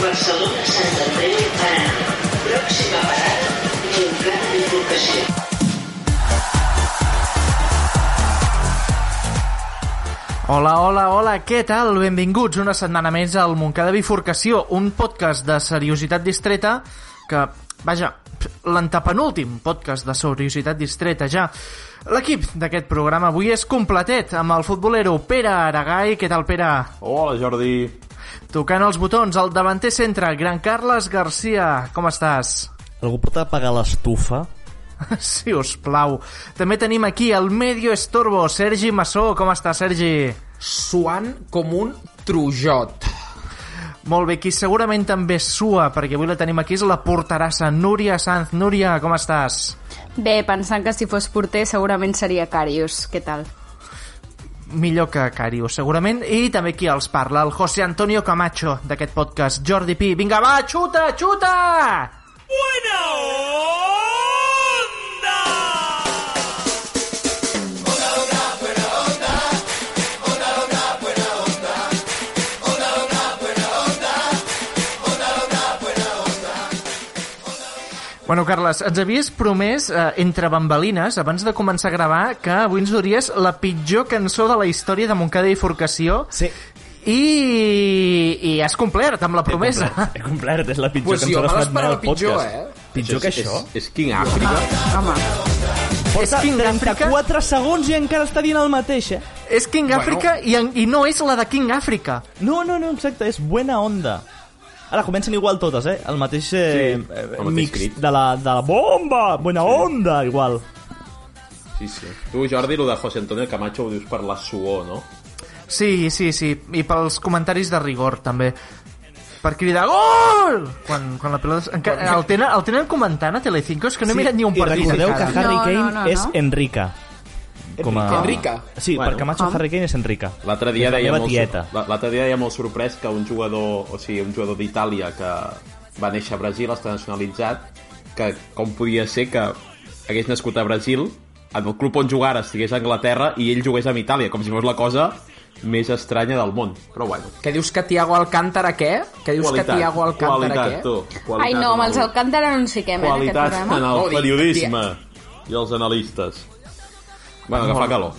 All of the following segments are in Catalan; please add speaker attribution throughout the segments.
Speaker 1: Barcelona, Sant Andreu i Paraná. Pròxima parada, Montclar de Forcació.
Speaker 2: Hola, hola, hola, què tal? Benvinguts una setmana més al Montcada Bifurcació, un podcast de seriositat distreta que, vaja, l'antepenúltim podcast de seriositat distreta ja. L'equip d'aquest programa avui és completet amb el futbolero Pere Aragai. Què tal, Pere?
Speaker 3: Hola, Jordi.
Speaker 2: Tocant els botons, al davanter centre, Gran Carles Garcia. Com estàs?
Speaker 4: Algú pot apagar l'estufa?
Speaker 2: Si us plau. També tenim aquí el medio estorbo, Sergi Massó. Com està, Sergi?
Speaker 5: suant com un trujot.
Speaker 2: Molt bé, qui segurament també sua, perquè avui la tenim aquí, és la porterassa Núria Sanz. Núria, com estàs?
Speaker 6: Bé, pensant que si fos porter segurament seria Carius. Què tal?
Speaker 2: Millor que Carius, segurament. I també qui els parla, el José Antonio Camacho, d'aquest podcast, Jordi Pi. Vinga, va, xuta, xuta! Bueno, Carles, ens havies promès, eh, entre bambalines, abans de començar a gravar, que avui ens duries la pitjor cançó de la història de Montcada i Forcació.
Speaker 4: Sí.
Speaker 2: I, i has complert amb la promesa.
Speaker 4: Ah, He complert, és la pitjor
Speaker 5: Pues
Speaker 4: cançó
Speaker 5: jo
Speaker 4: que
Speaker 5: me
Speaker 4: has fet mai
Speaker 5: l'esperava
Speaker 4: al
Speaker 5: pitjor,
Speaker 4: podcast.
Speaker 5: eh?
Speaker 4: Pitjor que això?
Speaker 3: És, és King Africa.
Speaker 6: Home,
Speaker 2: Porta És King Africa.
Speaker 7: 34 segons i encara està dient el mateix, eh?
Speaker 2: És King
Speaker 5: Bueno.
Speaker 2: Africa i, en- i no és la de King Africa.
Speaker 7: No, no,
Speaker 4: No, exacte, és Buena Onda. Ara comencen igual totes, eh? El mateix, eh,
Speaker 3: Sí,
Speaker 4: eh,
Speaker 3: el mateix
Speaker 4: mix
Speaker 3: crit.
Speaker 4: de la, de la bomba, Buena Onda, igual.
Speaker 3: Sí, sí. Tu, Jordi, lo de José Antonio Camacho ho dius per la suor, no?
Speaker 2: Sí, sí, sí. I pels comentaris de rigor, també. Per cridar gol! Quan, quan la pilota... Encara, el, tenen, el tenen comentant a Telecinco, és que no he mirat ni un
Speaker 4: I
Speaker 2: partit
Speaker 4: recordeu que
Speaker 2: encara.
Speaker 4: Harry
Speaker 6: No,
Speaker 4: Kane
Speaker 6: no, no,
Speaker 4: és
Speaker 6: no.
Speaker 4: Enrica. Com a...
Speaker 5: Enrica?
Speaker 4: Sí,
Speaker 3: Bueno.
Speaker 4: bueno, perquè Macho
Speaker 6: Com?
Speaker 4: Harry Kane és Enrica.
Speaker 3: L'altre dia,
Speaker 4: És la
Speaker 3: deia
Speaker 4: meva
Speaker 3: molt,
Speaker 4: tieta.
Speaker 3: sor- l'altre dia deia molt sorprès que un jugador, o sigui, un jugador d'Itàlia que va néixer a Brasil, està nacionalitzat, que com podia ser que hagués nascut a Brasil, en el club on jugara estigués a Anglaterra i ell jugués amb Itàlia, com si fos la cosa més estranya del món. Però bueno,
Speaker 5: Que dius que Tiago Alcántara què? Que dius que Tiago Alcántara
Speaker 3: qualitat,
Speaker 5: què?
Speaker 3: tu. Qualitat,
Speaker 6: ai no, amb els
Speaker 3: home.
Speaker 6: Alcántara no ens fiquem, eh, en aquest
Speaker 3: qualitat en
Speaker 6: programa.
Speaker 3: el
Speaker 5: Oh, dic,
Speaker 3: periodisme i els analistes. Bueno, que fa calor.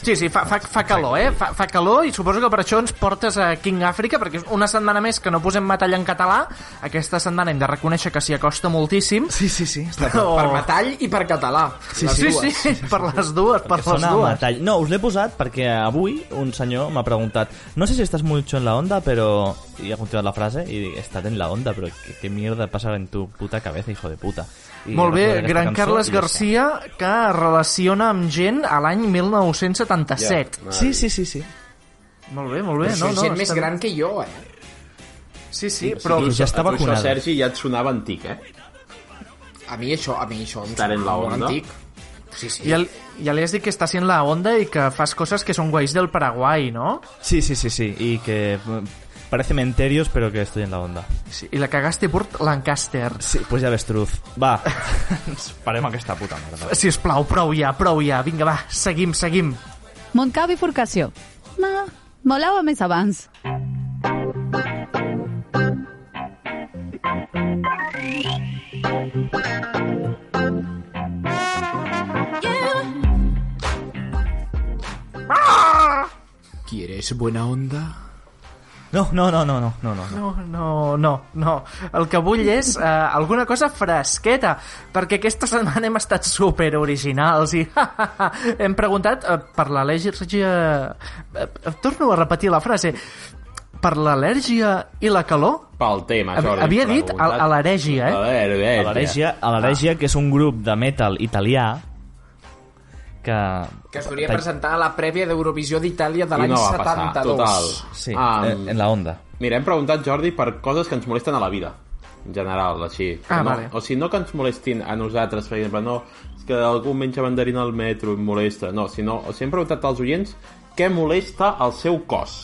Speaker 2: Sí, sí, fa, fa, fa calor, eh? Fa, fa calor i suposo que per això ens portes a King Africa, perquè és una setmana més que no posem metall en català. Aquesta setmana hem de reconèixer que s'hi acosta moltíssim.
Speaker 7: Sí, sí, sí. Està...
Speaker 2: Però...
Speaker 5: Per metall i per català.
Speaker 2: Sí, sí, sí, sí, per les dues, per
Speaker 4: Que
Speaker 2: les
Speaker 4: sona a
Speaker 2: dues.
Speaker 4: metall. No, us l'he posat perquè avui un senyor m'ha preguntat no sé si estàs mucho en la onda, però... I ha continuat la frase i dic, estat en la onda, però què, què mierda passa en tu puta cabeza, hijo de puta. I
Speaker 2: Molt bé,
Speaker 4: va posar aquesta
Speaker 2: Gran
Speaker 4: cançó
Speaker 2: Carles
Speaker 4: i ja està.
Speaker 2: Garcia que es relaciona amb gent a l'any 1977.
Speaker 7: Sí, sí, sí, sí.
Speaker 2: Molt bé, molt bé.
Speaker 5: Però
Speaker 2: No,
Speaker 5: són
Speaker 2: no,
Speaker 5: gent més
Speaker 2: està-
Speaker 5: gran que jo, eh?
Speaker 2: Sí, sí, però...
Speaker 4: sí, ja està
Speaker 3: A tu
Speaker 4: vacunada.
Speaker 3: Això, Sergi, ja et sonava antic, eh?
Speaker 5: A mi això, a mi això em
Speaker 3: Estar en
Speaker 5: sembla
Speaker 3: la
Speaker 5: molt
Speaker 3: onda.
Speaker 5: antic. Sí, sí.
Speaker 2: Ja, ja li has dit que estàs en la onda i que fas coses que són guais del Paraguai, no?
Speaker 4: Sí, sí, sí, sí. I que... mm, Parece menterios, pero que estoy en la onda.
Speaker 2: Sí, I la cagaste per Lancaster.
Speaker 4: Sí, pues ja ves, truz. Va, ens parem aquesta puta merda.
Speaker 2: Si us plau, prou ja, prou ja. Vinga, va, seguim, seguim.
Speaker 8: Montcada Bifurcació. Ma, molava més abans.
Speaker 5: ¿Quieres buena onda?
Speaker 4: No, no, no, no, no, no, no. no.
Speaker 2: No, no, no, no. El que vull és eh, alguna cosa fresqueta, perquè aquesta setmana hem estat super originals i hem preguntat eh, per l'al·lèrgia... Eh, eh, torno a repetir la frase. Per l'al·lèrgia i la calor?
Speaker 3: Pel tema, Jordi.
Speaker 2: Havia dit a, a l'herègia, eh?
Speaker 3: l'herègia.
Speaker 4: A l'Aregia, a
Speaker 2: Ah.
Speaker 4: l'Aregia, que és un grup de metal italià que...
Speaker 5: Que es volia presentar a la prèvia d'Eurovisió d'Itàlia de
Speaker 3: I
Speaker 5: l'any
Speaker 3: no va passar,
Speaker 5: 72.
Speaker 3: total.
Speaker 4: Sí,
Speaker 3: Ah,
Speaker 2: mm.
Speaker 4: eh, en la onda.
Speaker 3: Mira, hem preguntat, Jordi, per coses que ens molesten a la vida, en general, així.
Speaker 2: Ah,
Speaker 3: no,
Speaker 2: vale.
Speaker 3: O sigui, no que ens molestin a nosaltres, per exemple, no, és que algú menja mandarina al metro i em molesta, no, sinó, o sigui, hem preguntat als oients què molesta al seu cos.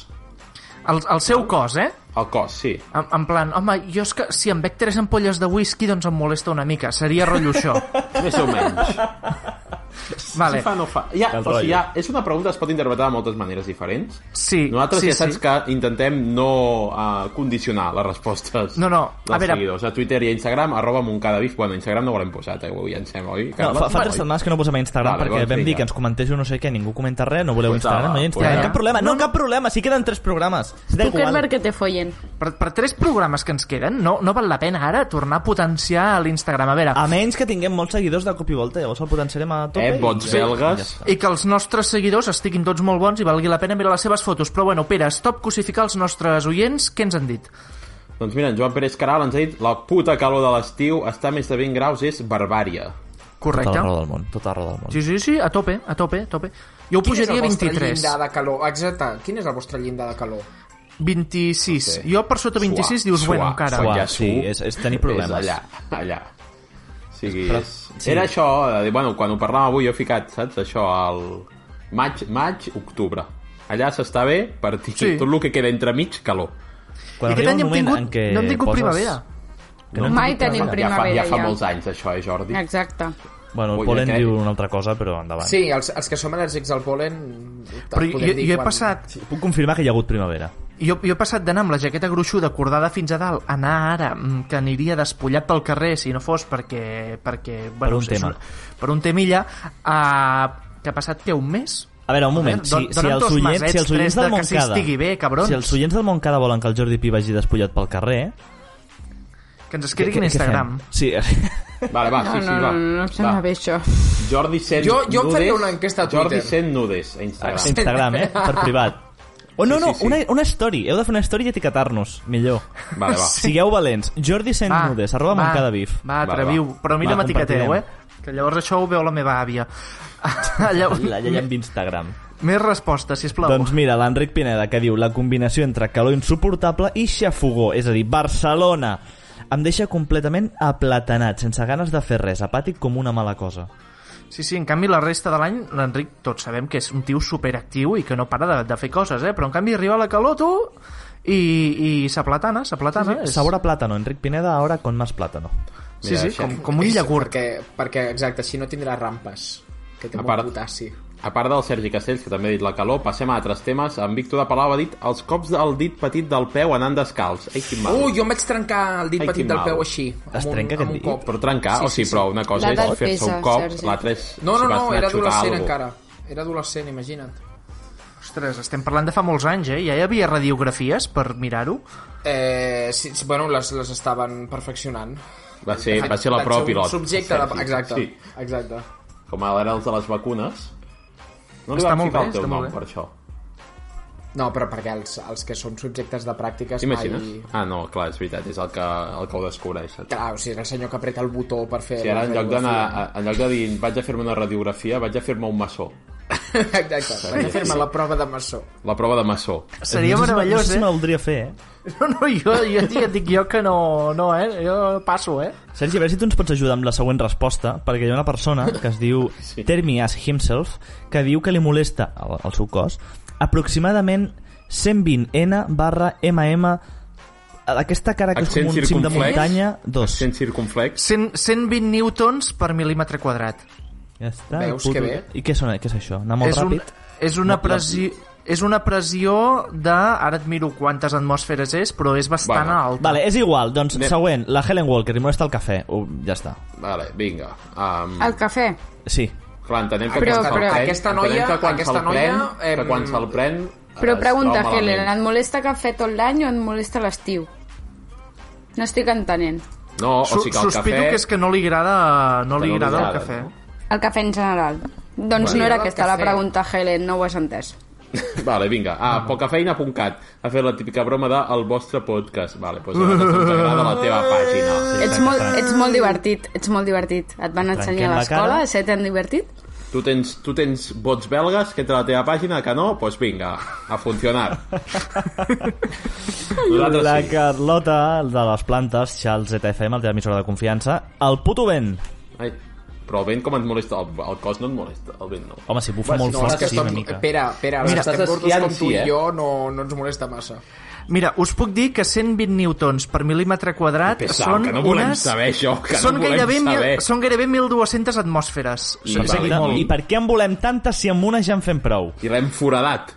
Speaker 2: El, el seu cos, eh?
Speaker 3: El cos, sí.
Speaker 2: En, en plan, home, jo és que si em bec tres ampolles de whisky, doncs em molesta una mica. Seria rotllo això.
Speaker 3: Més o menys.
Speaker 2: Vale.
Speaker 3: Si fa, no fa. Ja,
Speaker 4: Del
Speaker 3: o
Speaker 4: rotllo.
Speaker 3: sigui, ja, és una pregunta que es pot interpretar de moltes maneres diferents.
Speaker 2: Sí,
Speaker 3: Nosaltres
Speaker 2: sí,
Speaker 3: ja saps
Speaker 2: sí.
Speaker 3: que intentem no uh, condicionar les respostes
Speaker 2: No, no, a
Speaker 3: dels
Speaker 2: veure-
Speaker 3: seguidors. A Twitter i a Instagram, arroba Montcadavif. Bueno, a Instagram no ho l'hem posat, eh? ho llancem, oi?
Speaker 4: No, fa, fa tres setmanes que no posem a Instagram vale,
Speaker 3: Vale,
Speaker 4: perquè
Speaker 3: doncs
Speaker 4: vam dir
Speaker 3: vinga.
Speaker 4: que ens comentéssiu no sé què, ningú comenta res, no voleu
Speaker 3: Pues
Speaker 4: Instagram,
Speaker 3: ala,
Speaker 4: no hi ha Instagram.
Speaker 2: pues
Speaker 4: cap problema, no, cap problema, sí queden tres programes. És de igual.
Speaker 6: Zuckerberg que te follen.
Speaker 2: Per, per tres programes que ens queden, no, no val la pena ara tornar a potenciar l'Instagram. A veure,
Speaker 4: A menys que tinguem molts seguidors de cop i volta, llavors el potenciarem a tope.
Speaker 3: Eh,
Speaker 4: i-
Speaker 3: bots
Speaker 4: i
Speaker 3: belgues.
Speaker 4: està.
Speaker 2: i que els nostres seguidors estiguin tots molt bons i valgui la pena mirar les seves fotos. Però bueno, Pere, stop cosificar els nostres oients. Què ens han dit?
Speaker 3: Doncs mira, en Joan Pérez Caral ens ha dit la puta calor de l'estiu està a més de 20 graus, és barbària.
Speaker 4: Tota la
Speaker 2: Correcte.
Speaker 4: roda del món, tota la roda del món.
Speaker 2: Sí, sí, sí, a tope, a tope, a tope. Jo ho
Speaker 5: Quin és
Speaker 2: pujaria
Speaker 5: el
Speaker 2: a
Speaker 5: vostre
Speaker 2: 23.
Speaker 5: llindar de calor? Exacte, quin és el vostre llindar de calor?
Speaker 2: 26.
Speaker 3: Ok.
Speaker 2: Jo per sota 26 dius,
Speaker 3: suar,
Speaker 2: bueno, encara.
Speaker 3: Quan
Speaker 4: Uah,
Speaker 3: ja
Speaker 4: sí,
Speaker 3: surt,
Speaker 4: és, és tenir problemes.
Speaker 3: És allà, allà. O sigui,
Speaker 4: Però-
Speaker 3: és... Era això, de dir, bueno, quan ho parlàvem avui jo he ficat, saps, això, al maig, maig, octubre. Allà s'està bé per dir
Speaker 2: Sí.
Speaker 3: sí. tot el que queda entre mig, calor.
Speaker 4: Quan
Speaker 2: I aquest
Speaker 4: arriba un
Speaker 2: any hem
Speaker 4: moment
Speaker 2: tingut,
Speaker 4: en què
Speaker 2: no hem tingut
Speaker 4: poses-
Speaker 2: primavera.
Speaker 4: que no hem
Speaker 6: Mai
Speaker 4: tingut
Speaker 6: tenim
Speaker 4: primavera.
Speaker 3: ja, fa,
Speaker 6: primavera,
Speaker 3: ja fa
Speaker 6: ja.
Speaker 3: molts anys, això, eh, Jordi?
Speaker 6: Exacte.
Speaker 4: Bueno, el
Speaker 3: Ui,
Speaker 4: Polen
Speaker 3: aquest-
Speaker 4: diu
Speaker 2: eh?
Speaker 4: una altra cosa, però endavant.
Speaker 5: Sí, els, els que som al·lèrgics al pol·len...
Speaker 2: Però jo,
Speaker 5: podem dir
Speaker 2: jo he
Speaker 5: quan-
Speaker 2: passat
Speaker 4: Puc confirmar que hi ha hagut primavera.
Speaker 2: Jo, jo he passat d'anar amb la jaqueta gruixuda cordada fins a dalt, anar ara, mm, que aniria despullat pel carrer si no fos perquè... perquè
Speaker 4: un
Speaker 2: és
Speaker 4: tema.
Speaker 2: per un temilla, a, que ha passat que un mes...
Speaker 4: A veure, un moment,
Speaker 2: Joder,
Speaker 4: si,
Speaker 2: don-
Speaker 4: si,
Speaker 2: dona'm
Speaker 4: els
Speaker 2: dos
Speaker 4: oients, si
Speaker 2: masets,
Speaker 4: els oients
Speaker 2: tres
Speaker 4: del
Speaker 2: de que sí
Speaker 4: Montcada...
Speaker 2: estigui bé, cabrons.
Speaker 4: Si els oients del Montcada volen que el Jordi Pi vagi despullat pel carrer...
Speaker 2: Que ens
Speaker 4: què-
Speaker 2: escriguin a
Speaker 4: què- què
Speaker 2: Instagram.
Speaker 4: fem? Sí,
Speaker 3: Vale, va,
Speaker 6: No,
Speaker 3: Ah, sí, sí,
Speaker 6: no,
Speaker 3: va.
Speaker 6: no, no, no em
Speaker 3: va.
Speaker 6: sembla bé això.
Speaker 3: Jordi sent
Speaker 5: Jo- jo
Speaker 3: nudes,
Speaker 5: faria una enquesta a
Speaker 3: Jordi
Speaker 5: Twitter.
Speaker 3: sent nudes a Instagram.
Speaker 4: Instagram, eh? Per privat. Oh, no,
Speaker 3: Sí,
Speaker 4: no,
Speaker 3: sí, sí.
Speaker 4: Una, una story. Heu de fer una story i etiquetar-nos, millor.
Speaker 3: Vale, va.
Speaker 4: Sigueu valents. Jordi sent
Speaker 2: Va,
Speaker 4: nudes, arroba
Speaker 2: va,
Speaker 4: Montcada Bif.
Speaker 2: Va,
Speaker 3: Va,
Speaker 2: atreviu.
Speaker 3: va.
Speaker 2: Però mira,
Speaker 4: Va,
Speaker 2: m'etiqueteu, eh?
Speaker 4: compartirem.
Speaker 2: Que llavors això ho veu la meva àvia. Llavors,
Speaker 4: La llei d'Instagram.
Speaker 2: Més respostes, sisplau.
Speaker 4: Doncs mira, l'Enric Pineda que diu la combinació entre calor insuportable i xafogó, és a dir, Barcelona em deixa completament aplatanat, sense ganes de fer res, apàtic com una mala cosa.
Speaker 2: Sí, sí, en canvi la resta de l'any l'Enric tots sabem que és un tio superactiu i que no para de, de fer coses, eh? Però en canvi arriba la calor tu i, i s'aplatana, s'aplatana.
Speaker 4: És...
Speaker 2: és-
Speaker 4: Sabor a plàtano, Enric Pineda, ahora con más plàtano.
Speaker 2: Sí,
Speaker 3: Mira,
Speaker 2: sí,
Speaker 3: això.
Speaker 2: com, com un
Speaker 5: És
Speaker 2: iogurt.
Speaker 5: Perquè, perquè, exacte, així no tindrà rampes. Que té
Speaker 3: A
Speaker 5: molt
Speaker 3: part-
Speaker 5: potassi.
Speaker 3: A part del Sergi Castells, que també ha dit la calor, passem a altres temes. En Víctor de Palau ha dit els cops al dit petit del peu anant descalç. Ai, quin mal.
Speaker 5: Uh, jo em vaig trencar el dit
Speaker 3: Ai,
Speaker 5: petit
Speaker 3: quin
Speaker 5: del
Speaker 3: mal.
Speaker 5: peu així. amb
Speaker 4: Es
Speaker 5: un-
Speaker 4: trenca aquest
Speaker 5: amb un
Speaker 4: dit?
Speaker 5: cop.
Speaker 3: Però trencar, sí, o sigui, sí, però una cosa
Speaker 6: L'edat
Speaker 3: és fer-se un
Speaker 6: pesa,
Speaker 3: cop,
Speaker 6: Sergi.
Speaker 3: l'altra és...
Speaker 5: No,
Speaker 3: si
Speaker 5: no,
Speaker 3: vas
Speaker 5: no,
Speaker 3: anar a
Speaker 5: era
Speaker 3: xutar
Speaker 5: adolescent
Speaker 3: algú.
Speaker 5: encara. Era adolescent, imagina't.
Speaker 2: Ostres, estem parlant de fa molts anys, eh? Ja hi havia radiografies per mirar-ho.
Speaker 5: Eh, sí, sí, bueno, les, les estaven perfeccionant.
Speaker 3: Va ser,
Speaker 5: De fet,
Speaker 3: Eh, va ser la
Speaker 5: vaig
Speaker 3: prova
Speaker 5: un
Speaker 3: pilot.
Speaker 5: Subjecte
Speaker 3: Sergi.
Speaker 5: de... Exacte,
Speaker 3: Sí,
Speaker 5: exacte.
Speaker 3: com ara els de les vacunes. No li
Speaker 2: Està
Speaker 3: vam
Speaker 2: molt
Speaker 3: ficar
Speaker 2: bé,
Speaker 3: el teu
Speaker 2: està molt
Speaker 3: nom
Speaker 2: bé.
Speaker 3: per això.
Speaker 5: No, però perquè els, els que són subjectes de pràctiques
Speaker 3: T'imagines?
Speaker 5: mai...
Speaker 3: Ah, no, clar, és veritat, és el que, el que ho descobreix. O
Speaker 5: Clar, o sigui, és el senyor que apreta el botó per fer...
Speaker 3: sigui, ara en
Speaker 5: la
Speaker 3: lloc, d'anar,
Speaker 5: radiografia.
Speaker 3: a- en lloc de dir vaig a fer-me una radiografia, vaig a fer-me un maçó.
Speaker 5: Exacte, vaig a fer-me la prova de maçó.
Speaker 3: La prova de maçó.
Speaker 2: Seria
Speaker 4: no sé si- no
Speaker 2: meravellós,
Speaker 4: sé si
Speaker 2: eh?
Speaker 4: me la voldria fer, eh?
Speaker 2: No, no, jo, jo ja et dic jo que no, no, eh? Jo passo, eh?
Speaker 4: Sergi, a veure si tu ens pots ajudar amb la següent resposta, perquè hi ha una persona que es diu
Speaker 3: Sí.
Speaker 4: Termi as himself, que diu que li molesta el, el seu cos aproximadament 120N barra MM aquesta cara que és
Speaker 3: Accent
Speaker 4: com un cim de
Speaker 3: circumflex.
Speaker 4: muntanya 2.
Speaker 3: Sent circunflex.
Speaker 2: 100, 120 newtons per mil·límetre quadrat.
Speaker 4: Ja està.
Speaker 5: Veus
Speaker 4: puto.
Speaker 5: que bé?
Speaker 4: I què, sona, què és això? Anar molt
Speaker 2: és un,
Speaker 4: ràpid?
Speaker 2: és una pressió... És una pressió de... Ara et miro quantes atmosferes és, però és bastant
Speaker 3: Bueno,
Speaker 2: alta.
Speaker 4: Vale, és igual. Doncs
Speaker 3: Anem.
Speaker 4: següent, la Helen Walker, li molesta el cafè. Uh, ja està.
Speaker 3: Vale, vinga. Um,
Speaker 6: El cafè.
Speaker 4: Sí.
Speaker 3: Clar, entenem que
Speaker 6: Ah, Però-
Speaker 3: quan se'l
Speaker 6: però
Speaker 3: pren,
Speaker 5: aquesta
Speaker 3: entenem
Speaker 5: noia-
Speaker 3: que quan
Speaker 5: aquesta
Speaker 3: se'l pren,
Speaker 5: noia, em,
Speaker 3: que quan se'l pren...
Speaker 6: Però
Speaker 3: es
Speaker 6: pregunta,
Speaker 3: troba
Speaker 6: Helen,
Speaker 3: malament.
Speaker 6: et molesta cafè tot l'any o et molesta l'estiu? No estic entenent.
Speaker 3: No, o
Speaker 2: Su-
Speaker 3: sigui que el
Speaker 2: sospito
Speaker 3: cafè...
Speaker 2: que és que no li agrada, no li
Speaker 3: Que no li
Speaker 2: agrada el
Speaker 3: agrada,
Speaker 2: cafè.
Speaker 3: no?
Speaker 6: El cafè en general. Doncs
Speaker 5: Bueno,
Speaker 6: no era
Speaker 5: el
Speaker 6: aquesta la
Speaker 5: cafè.
Speaker 6: pregunta, Helen, no ho has entès.
Speaker 3: Vale, vinga. Ah, pocafeina.cat ha fet la típica broma de el vostre podcast. Vale, doncs a nosaltres ens agrada la teva pàgina.
Speaker 6: Ets molt, ets molt divertit, ets molt divertit. Et van ensenyar
Speaker 4: Trenquem
Speaker 6: a
Speaker 4: la
Speaker 6: l'escola,
Speaker 4: cara.
Speaker 6: se t'han divertit?
Speaker 3: Tu tens, tu tens vots belgues que entra a la teva pàgina, que no? Doncs pues vinga, a funcionar. Nosaltres
Speaker 4: La
Speaker 3: sí.
Speaker 4: Carlota, de les plantes, Charles ZFM, la teva emissora de confiança. El puto vent.
Speaker 3: Ai, però el vent com et molesta? El, el cos no et molesta, el vent no.
Speaker 4: Home, si bufa molt
Speaker 5: No, és
Speaker 4: fort,
Speaker 5: que
Speaker 4: sí,
Speaker 5: estem...
Speaker 4: una mica.
Speaker 5: Pere, Pere,
Speaker 3: Mira,
Speaker 5: Mira, estem
Speaker 3: estàs
Speaker 5: gordos com
Speaker 3: esquiant,
Speaker 5: tu
Speaker 3: sí,
Speaker 5: i
Speaker 3: eh?
Speaker 5: jo, no, no ens molesta massa.
Speaker 2: Mira, us puc dir que 120 newtons per mil·límetre quadrat
Speaker 3: Que pesau,
Speaker 2: són
Speaker 3: que no volem
Speaker 2: unes...
Speaker 3: saber això, que no
Speaker 2: són,
Speaker 3: volem
Speaker 2: gairebé mil-
Speaker 3: saber.
Speaker 2: són gairebé 1.200 atmosferes.
Speaker 3: I
Speaker 2: O sigui,
Speaker 3: tant.
Speaker 2: molt.
Speaker 4: I per què en volem tantes si amb una ja en fem prou?
Speaker 3: I l'hem foradat.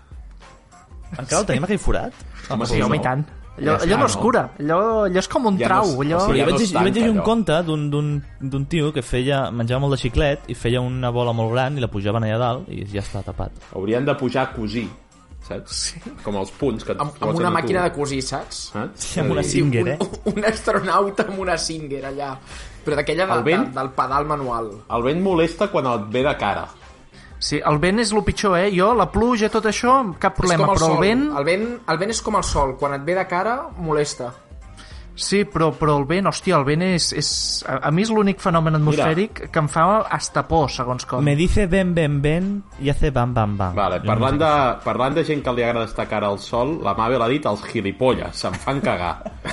Speaker 4: Encara Ah, el tenim aquell forat?
Speaker 3: Home,
Speaker 2: Ah, Sí, home, i tant. Allò, allò no es cura, allò, allò és com un
Speaker 3: Ja no
Speaker 2: trau.
Speaker 3: es-
Speaker 2: Allò...
Speaker 4: Però
Speaker 3: o sigui,
Speaker 4: jo,
Speaker 3: Ja no
Speaker 4: vaig,
Speaker 3: es
Speaker 4: llegir- jo vaig
Speaker 3: tanca,
Speaker 4: llegir un
Speaker 3: allò.
Speaker 4: conte d'un- d'un d'un tio que feia, menjava molt de xiclet i feia una bola molt gran i la pujaven allà dalt i ja està tapat.
Speaker 3: Haurien de pujar a cosir, saps? Sí. Com els punts que et
Speaker 5: Amb,
Speaker 3: posen
Speaker 5: amb una
Speaker 3: a tu. Ah,
Speaker 5: màquina de cosir, saps?
Speaker 3: Saps?
Speaker 4: Sí, amb una
Speaker 3: És a dir,
Speaker 4: Singer, eh?
Speaker 5: un, un astronauta amb una Singer allà. Però d'aquella de,
Speaker 3: El
Speaker 5: de,
Speaker 3: vent?
Speaker 5: del pedal manual.
Speaker 3: El vent molesta quan et ve de cara.
Speaker 2: Sí, el vent és el pitjor, eh? Jo, la pluja, tot això, cap problema,
Speaker 5: és com el
Speaker 2: però
Speaker 5: sol.
Speaker 2: el vent...
Speaker 5: El vent, el vent és com el sol. Quan et ve de cara, molesta.
Speaker 2: Sí, però, però el vent, hòstia, el vent és... és a, a mi és l'únic fenomen atmosfèric que em fa hasta por, segons com.
Speaker 4: Me dice ben, ben, ben i hace bam, bam, bam.
Speaker 3: Vale,
Speaker 4: Jo
Speaker 3: parlant,
Speaker 4: no
Speaker 3: de, parlant de gent que li agrada estar cara al sol, la Mabel ha dit els gilipolles, se'n fan cagar.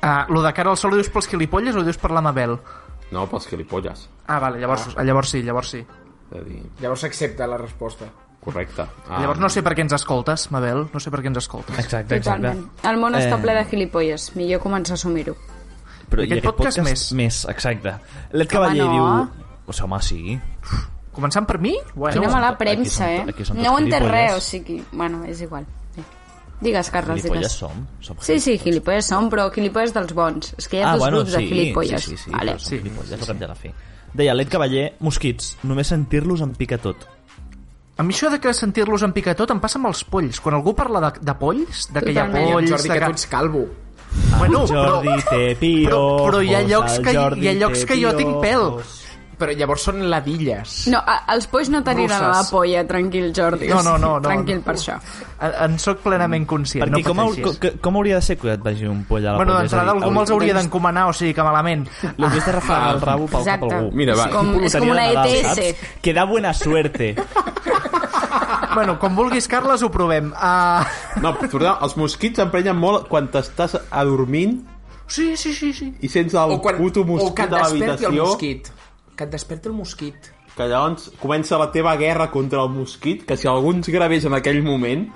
Speaker 2: Ah, lo de cara al sol ho dius pels quilipolles o ho dius per la Mabel?
Speaker 3: No, pels gilipolles.
Speaker 2: Ah, vale, llavors, ah. llavors sí, llavors sí.
Speaker 3: És a dir,
Speaker 5: Llavors s'accepta la resposta.
Speaker 3: correcte.
Speaker 2: Ah. Llavors no sé per què ens escoltes, Mabel, no sé per què ens escoltes.
Speaker 4: sé. Exacte, exacte.
Speaker 6: Totalment. El món està
Speaker 4: Eh.
Speaker 6: ple de gilipolles. Millor començar a assumir-ho.
Speaker 4: Però
Speaker 2: Aquest
Speaker 4: i
Speaker 2: podcast més.
Speaker 4: Més, exacte. L'Ed Cavaller
Speaker 6: no.
Speaker 4: diu... O sigui, home, sí.
Speaker 2: Començant per mi? Bueno,
Speaker 6: Quina mala
Speaker 4: aquí
Speaker 6: premsa,
Speaker 4: som-
Speaker 6: eh?
Speaker 4: aquí som tots
Speaker 6: No ho entenc
Speaker 4: gilipolles.
Speaker 6: res, o sigui... Bueno, és igual. Sí. Digues, Carles,
Speaker 4: Gilipolles
Speaker 6: digues.
Speaker 4: som. som
Speaker 6: Sí, sí, gilipolles som, però gilipolles dels bons. És
Speaker 2: Eh,
Speaker 6: que hi ha dos grups de gilipolles.
Speaker 4: Ah, Sí, sí, sí,
Speaker 6: vale.
Speaker 4: però són gilipolles, al cap i a la fi. Deia l'Ed Cavaller, mosquits, només sentir-los em pica tot.
Speaker 2: a mi això de que sentir-los en pica tot em passa amb els polls. Quan algú parla de, de polls, de que hi ha
Speaker 6: Totalment.
Speaker 5: Ei, en
Speaker 2: polls...
Speaker 5: Jordi,
Speaker 2: de
Speaker 5: que tu ets calvo.
Speaker 2: Bueno,
Speaker 4: Jordi,
Speaker 2: però,
Speaker 4: te pio...
Speaker 2: però, però hi ha
Speaker 4: posa
Speaker 2: llocs
Speaker 4: el
Speaker 2: que,
Speaker 4: Jordi,
Speaker 2: hi ha llocs
Speaker 4: te
Speaker 2: que jo
Speaker 4: pio,
Speaker 2: tinc pèl.
Speaker 5: Però llavors són ladilles.
Speaker 6: No, a, els polls no t'aniran a la
Speaker 2: Russes.
Speaker 6: polla, tranquil, Jordi.
Speaker 2: No, no, no, no.
Speaker 6: Tranquil per això.
Speaker 2: En, en sóc plenament conscient,
Speaker 4: Perquè
Speaker 2: no
Speaker 4: com, hau-
Speaker 2: pateixis.
Speaker 4: co- com hauria de ser que et vagi un poll a la
Speaker 2: Bueno,
Speaker 4: polla? És a
Speaker 2: d'entrada
Speaker 4: dir,
Speaker 2: algú me'ls hauria
Speaker 6: doncs-
Speaker 2: d'encomanar, o sigui que malament.
Speaker 4: L'hauries de refregar el rabo pel cap a
Speaker 6: Exacte.
Speaker 4: algú.
Speaker 3: Mira, va.
Speaker 6: És com, és com una E
Speaker 2: E
Speaker 4: Loteria de Nadal,
Speaker 6: ETS.
Speaker 4: saps? Que da buena suerte.
Speaker 2: bueno, com vulguis, Carles, ho provem. Uh...
Speaker 3: No, perdó, els mosquits emprenyen molt quan t'estàs adormint
Speaker 2: Sí, sí, sí, sí.
Speaker 3: i sents el
Speaker 5: O, quan,
Speaker 3: puto
Speaker 5: o
Speaker 3: mosquit
Speaker 5: que et
Speaker 3: de
Speaker 5: desperti el
Speaker 3: l'habitació
Speaker 5: mosquit. Que et desperti el mosquit.
Speaker 3: que llavors comença la teva guerra contra el mosquit, que si algú ens gravés en aquell moment...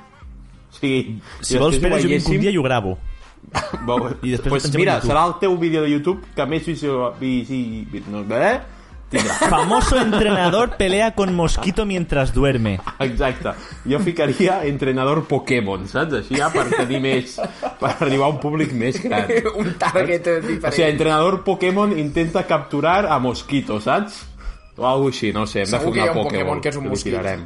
Speaker 3: O sigui,
Speaker 4: Si vols, Pere, jo vinc un dia i
Speaker 3: i...
Speaker 4: ho gravo.
Speaker 3: I
Speaker 4: després
Speaker 3: després
Speaker 4: ho
Speaker 3: pues
Speaker 4: pengem a
Speaker 3: mira,
Speaker 4: YouTube.
Speaker 3: serà el teu vídeo de YouTube que més visio... Visi... No, eh? Tindrà.
Speaker 4: Famoso entrenador pelea con mosquito mientras duerme.
Speaker 3: Exacte. Jo ficaria entrenador Pokémon, saps? Així ja per tenir més... Per arribar a un públic més gran.
Speaker 5: Un target eh, diferent.
Speaker 3: O sigui, entrenador Pokémon intenta capturar a Mosquito, saps? O alguna cosa així, no ho sé, hem de
Speaker 5: Segur
Speaker 3: fer
Speaker 5: que hi
Speaker 3: una
Speaker 5: ha un
Speaker 3: Pokémon,
Speaker 5: Pokémon que és un mosquit.
Speaker 3: Tirarem.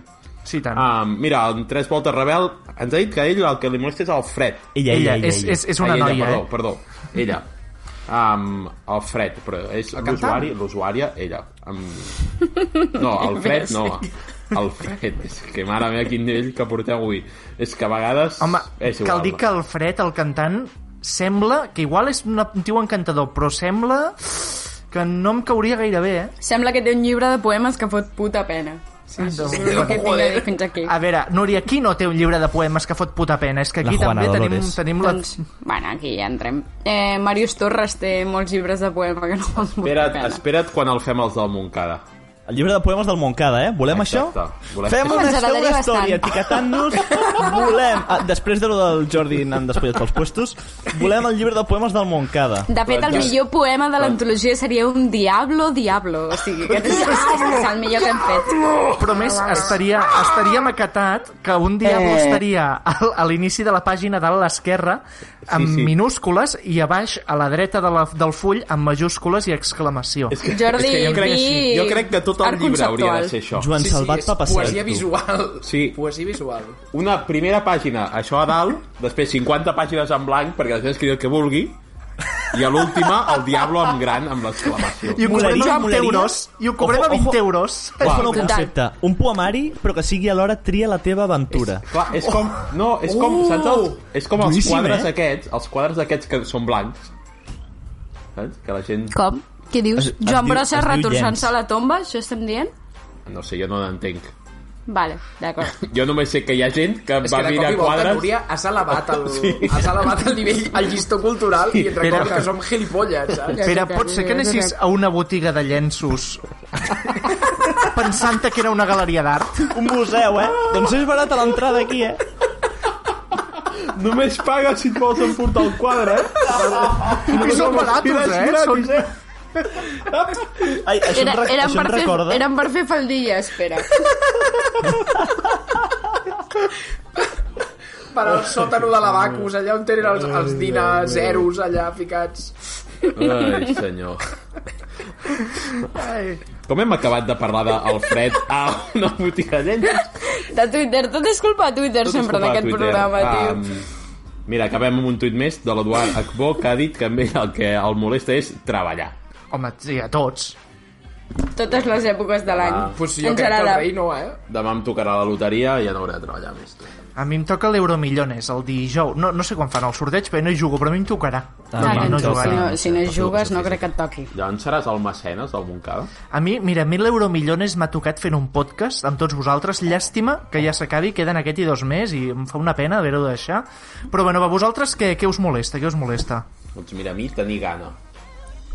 Speaker 2: Sí, tant. Ah,
Speaker 3: Ah, mira, en Tres Voltes Rebel ens ha dit que a ell el que li molesta és el fred.
Speaker 4: Ella,
Speaker 2: ella,
Speaker 4: ella, ella.
Speaker 2: és,
Speaker 4: ella.
Speaker 2: és, és una
Speaker 3: Ai, Ah, ella,
Speaker 2: noia,
Speaker 3: perdó,
Speaker 2: eh?
Speaker 3: Perdó, ella. Um, el fred, però és l'usuari, l'usuària, ella. Um, no, el fred no. El fred, és que mare meva, quin nivell que porteu avui. És que a vegades...
Speaker 2: Home,
Speaker 3: és igual,
Speaker 2: cal dir que el Fred, el cantant, sembla que igual és un tio encantador, però sembla que no em cauria gaire bé, eh?
Speaker 6: Sembla que té un llibre de poemes que fot puta pena. Sí,
Speaker 2: Ah,
Speaker 6: sí,
Speaker 2: doncs
Speaker 6: sí, el que tinc a dir fins aquí.
Speaker 2: A veure, Núria, qui no té un llibre de poemes que fot puta pena? És que
Speaker 4: La
Speaker 2: aquí
Speaker 4: Juana
Speaker 2: també tenim,
Speaker 4: Dolores.
Speaker 2: tenim la...
Speaker 6: Doncs, bueno, aquí ja entrem. Eh, Màrius Torres té molts llibres de poema que no fan molta
Speaker 3: Espera't,
Speaker 6: pena.
Speaker 3: espera't quan el fem els del Montcada.
Speaker 4: El llibre de poemes del Montcada, eh? Volem
Speaker 3: Exacte.
Speaker 4: això?
Speaker 3: Volem-
Speaker 4: Fem una,
Speaker 6: Ens
Speaker 4: fem
Speaker 6: agradaria
Speaker 4: una història,
Speaker 6: bastant.
Speaker 4: etiquetant-nos, volem... Ah, després de lo del Jordi anant despullat pels puestos, volem el llibre de poemes del Montcada.
Speaker 6: De fet, el millor poema de l'antologia seria un Diablo, Diablo. O sigui, aquest és, aquest és el millor que hem fet.
Speaker 2: Però a més, estaria, estaria maquetat que un diablo eh. estaria al- a l'inici de la pàgina dalt a l'esquerra amb
Speaker 3: Sí, sí.
Speaker 2: minúscules i a baix, a la dreta de la, del full, amb majúscules i exclamació.
Speaker 3: És que,
Speaker 6: Jordi,
Speaker 3: és que jo, crec,
Speaker 6: di-
Speaker 3: jo crec que tot el
Speaker 6: art
Speaker 3: llibre hauria
Speaker 6: conceptual.
Speaker 3: de ser això.
Speaker 4: Joan Salvat
Speaker 5: és
Speaker 4: va passar.
Speaker 5: Poesia visual.
Speaker 3: Sí.
Speaker 5: Poesia visual.
Speaker 3: Una primera pàgina, això a dalt, després 50 pàgines en blanc, perquè la gent escriu el que vulgui, i a l'última, el Diablo amb gran, amb l'exclamació.
Speaker 2: I ho cobrem
Speaker 4: Moleria,
Speaker 2: a 20
Speaker 4: moleria.
Speaker 2: euros. I ho cobrem
Speaker 4: Ojo,
Speaker 2: a 20
Speaker 4: ojo.
Speaker 2: euros.
Speaker 4: És un nou
Speaker 6: Total.
Speaker 4: concepte. Un poemari, però que sigui alhora tria la teva aventura.
Speaker 3: Clar, és com... No, és com,
Speaker 5: Uh!
Speaker 3: saps els, és com els
Speaker 4: Duríssim,
Speaker 3: quadres
Speaker 4: eh?
Speaker 3: aquests, els quadres aquests que són blancs. Saps? Que la gent...
Speaker 6: Com? Què dius?
Speaker 4: Es- es
Speaker 6: Joan
Speaker 4: diu-
Speaker 6: Brossa
Speaker 4: es diu
Speaker 6: retorçant-se
Speaker 4: Jens.
Speaker 6: a la tomba? Això estem dient?
Speaker 3: No sé, jo no l'entenc.
Speaker 6: Vale, d'acord.
Speaker 3: Jo només sé que hi ha gent que
Speaker 5: És
Speaker 3: va
Speaker 5: que de cop
Speaker 3: mirar
Speaker 5: i volta,
Speaker 3: quadres...
Speaker 5: Núria, has elevat el, sí.
Speaker 3: Sí.
Speaker 5: has elevat el nivell, el llistó cultural i et recordo
Speaker 2: Espera.
Speaker 5: que som gilipolles, saps?
Speaker 2: Pere, pot ser que anessis a una botiga de llenços pensant que era una galeria d'art?
Speaker 4: Un museu, eh? Doncs és barat a l'entrada aquí, eh?
Speaker 3: Només paga si et vols emportar el quadre, eh?
Speaker 2: I són baratos,
Speaker 3: Mira,
Speaker 2: eh?
Speaker 3: és gratis,
Speaker 2: Són-
Speaker 3: eh?
Speaker 4: Ai, això em,
Speaker 6: Era,
Speaker 4: re-
Speaker 6: eren,
Speaker 4: això em
Speaker 6: per fer,
Speaker 4: recorda...
Speaker 6: eren per fer faldilla, espera.
Speaker 5: Per al sòtano de la Bacus, allà on tenen els, els dinars zeros allà ficats.
Speaker 3: Ai, senyor.
Speaker 5: Ai.
Speaker 3: Com hem acabat de parlar d'Alfred Ah, a una botiga de llenços?
Speaker 6: De Twitter, tot és culpa de Twitter
Speaker 3: Tot és
Speaker 6: sempre
Speaker 3: culpa
Speaker 6: en
Speaker 3: de
Speaker 6: aquest
Speaker 3: Twitter.
Speaker 6: programa, tio.
Speaker 3: Um, mira, acabem amb un tuit més de l'Eduard Acbó, que ha dit que a ell el que el molesta és treballar.
Speaker 2: Home, sí, a tots.
Speaker 6: Totes les èpoques de l'any.
Speaker 3: Ah.
Speaker 5: Pues jo
Speaker 6: En
Speaker 5: crec que el
Speaker 6: general.
Speaker 5: rei no, eh?
Speaker 3: Demà em tocarà la loteria i ja no hauré de treballar més.
Speaker 2: A mi em toca l'Euromillones el dijous. No, no sé quan fan el sorteig, però no hi jugo, però a mi em tocarà.
Speaker 4: Ah,
Speaker 6: Clar,
Speaker 4: no,
Speaker 6: que
Speaker 4: no
Speaker 6: tu, si,
Speaker 4: jugaré.
Speaker 6: no, si no
Speaker 4: No
Speaker 6: jugues,
Speaker 4: jugo,
Speaker 6: no crec que et toqui.
Speaker 3: Llavors seràs el mecenes del Montcada?
Speaker 2: A mi, mira, a mi l'Euromillones m'ha tocat fent un podcast amb tots vosaltres. Llàstima que ja s'acabi, queden aquest i dos més i em fa una pena haver-ho de deixar. Però bueno, a vosaltres què, què us molesta? Què us molesta?
Speaker 3: Doncs mira, a mi tenir gana.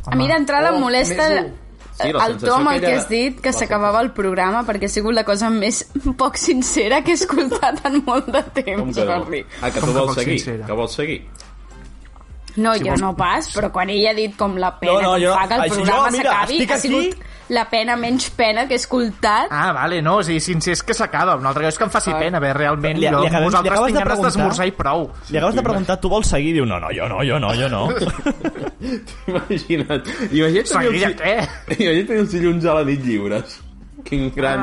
Speaker 6: A mi d'entrada
Speaker 5: Oh,
Speaker 6: em molesta
Speaker 5: més un.
Speaker 3: Sí, la
Speaker 6: el
Speaker 3: sensació
Speaker 6: Tom el
Speaker 3: aquella-
Speaker 6: que has dit que
Speaker 3: la
Speaker 6: s'acabava el programa perquè ha sigut la cosa més poc sincera que he escoltat en molt de
Speaker 3: Com
Speaker 6: temps,
Speaker 3: que no?
Speaker 6: Jordi.
Speaker 3: Ah, que
Speaker 2: Com
Speaker 3: tu
Speaker 2: que
Speaker 3: vols
Speaker 2: poc
Speaker 3: seguir?
Speaker 2: sincera.
Speaker 3: Que vols seguir?
Speaker 6: No, jo no pas, però quan ell ha dit com la pena
Speaker 4: No, no,
Speaker 6: que
Speaker 4: jo-
Speaker 6: em fa que el
Speaker 4: això,
Speaker 6: programa
Speaker 4: mira,
Speaker 6: s'acabi,
Speaker 4: estic
Speaker 6: ha sigut la pena menys pena que he escoltat.
Speaker 2: Ah, vale, no, o sigui, sincer és que s'acaba. Una altra cosa és que em faci pena, bé, realment.
Speaker 4: Li- li
Speaker 2: jo,
Speaker 4: acabes- li
Speaker 2: vosaltres
Speaker 4: acabes
Speaker 2: tinc
Speaker 4: de
Speaker 2: ganes
Speaker 4: preguntar?
Speaker 2: d'esmorzar i prou.
Speaker 4: Li acabes de preguntar, tu vols seguir? Diu, no, no, jo no, jo no, jo no.
Speaker 3: Imagina't. Imagina't
Speaker 2: Seguir de què?
Speaker 3: Imagina't tenir els dilluns a la nit lliures. Quin
Speaker 6: Ah,
Speaker 3: gran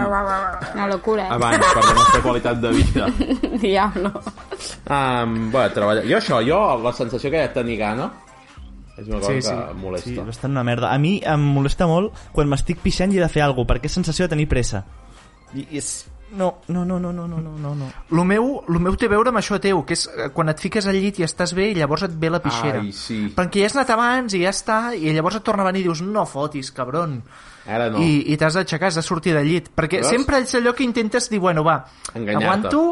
Speaker 6: Una locura, eh?
Speaker 3: avanç per la nostra qualitat de vida.
Speaker 6: Diablo.
Speaker 3: Um, bé, treballar... Jo això, jo la sensació que he de tenir gana és una cosa
Speaker 2: Sí,
Speaker 3: sí, sí.
Speaker 2: sí.
Speaker 3: que molesta.
Speaker 4: Sí,
Speaker 3: Sí,
Speaker 4: bastant una merda. A mi em molesta molt quan m'estic pixant i he de fer alguna cosa, perquè és sensació de tenir pressa. I i és... No, no, no, no, no, no, no, no, no.
Speaker 2: Lo meu, lo meu té a veure amb això teu, que és eh, quan et fiques al llit i estàs bé i llavors et ve la pixera.
Speaker 3: Ai, sí.
Speaker 2: Perquè ja has anat abans i ja està, i llavors et torna a venir i dius, no fotis, cabron.
Speaker 3: Ara no.
Speaker 2: I, i t'has d'aixecar, has de sortir del llit. Perquè
Speaker 3: Veus?
Speaker 2: sempre és allò que intentes dir, bueno, va,
Speaker 3: Enganyar-te.
Speaker 2: aguanto...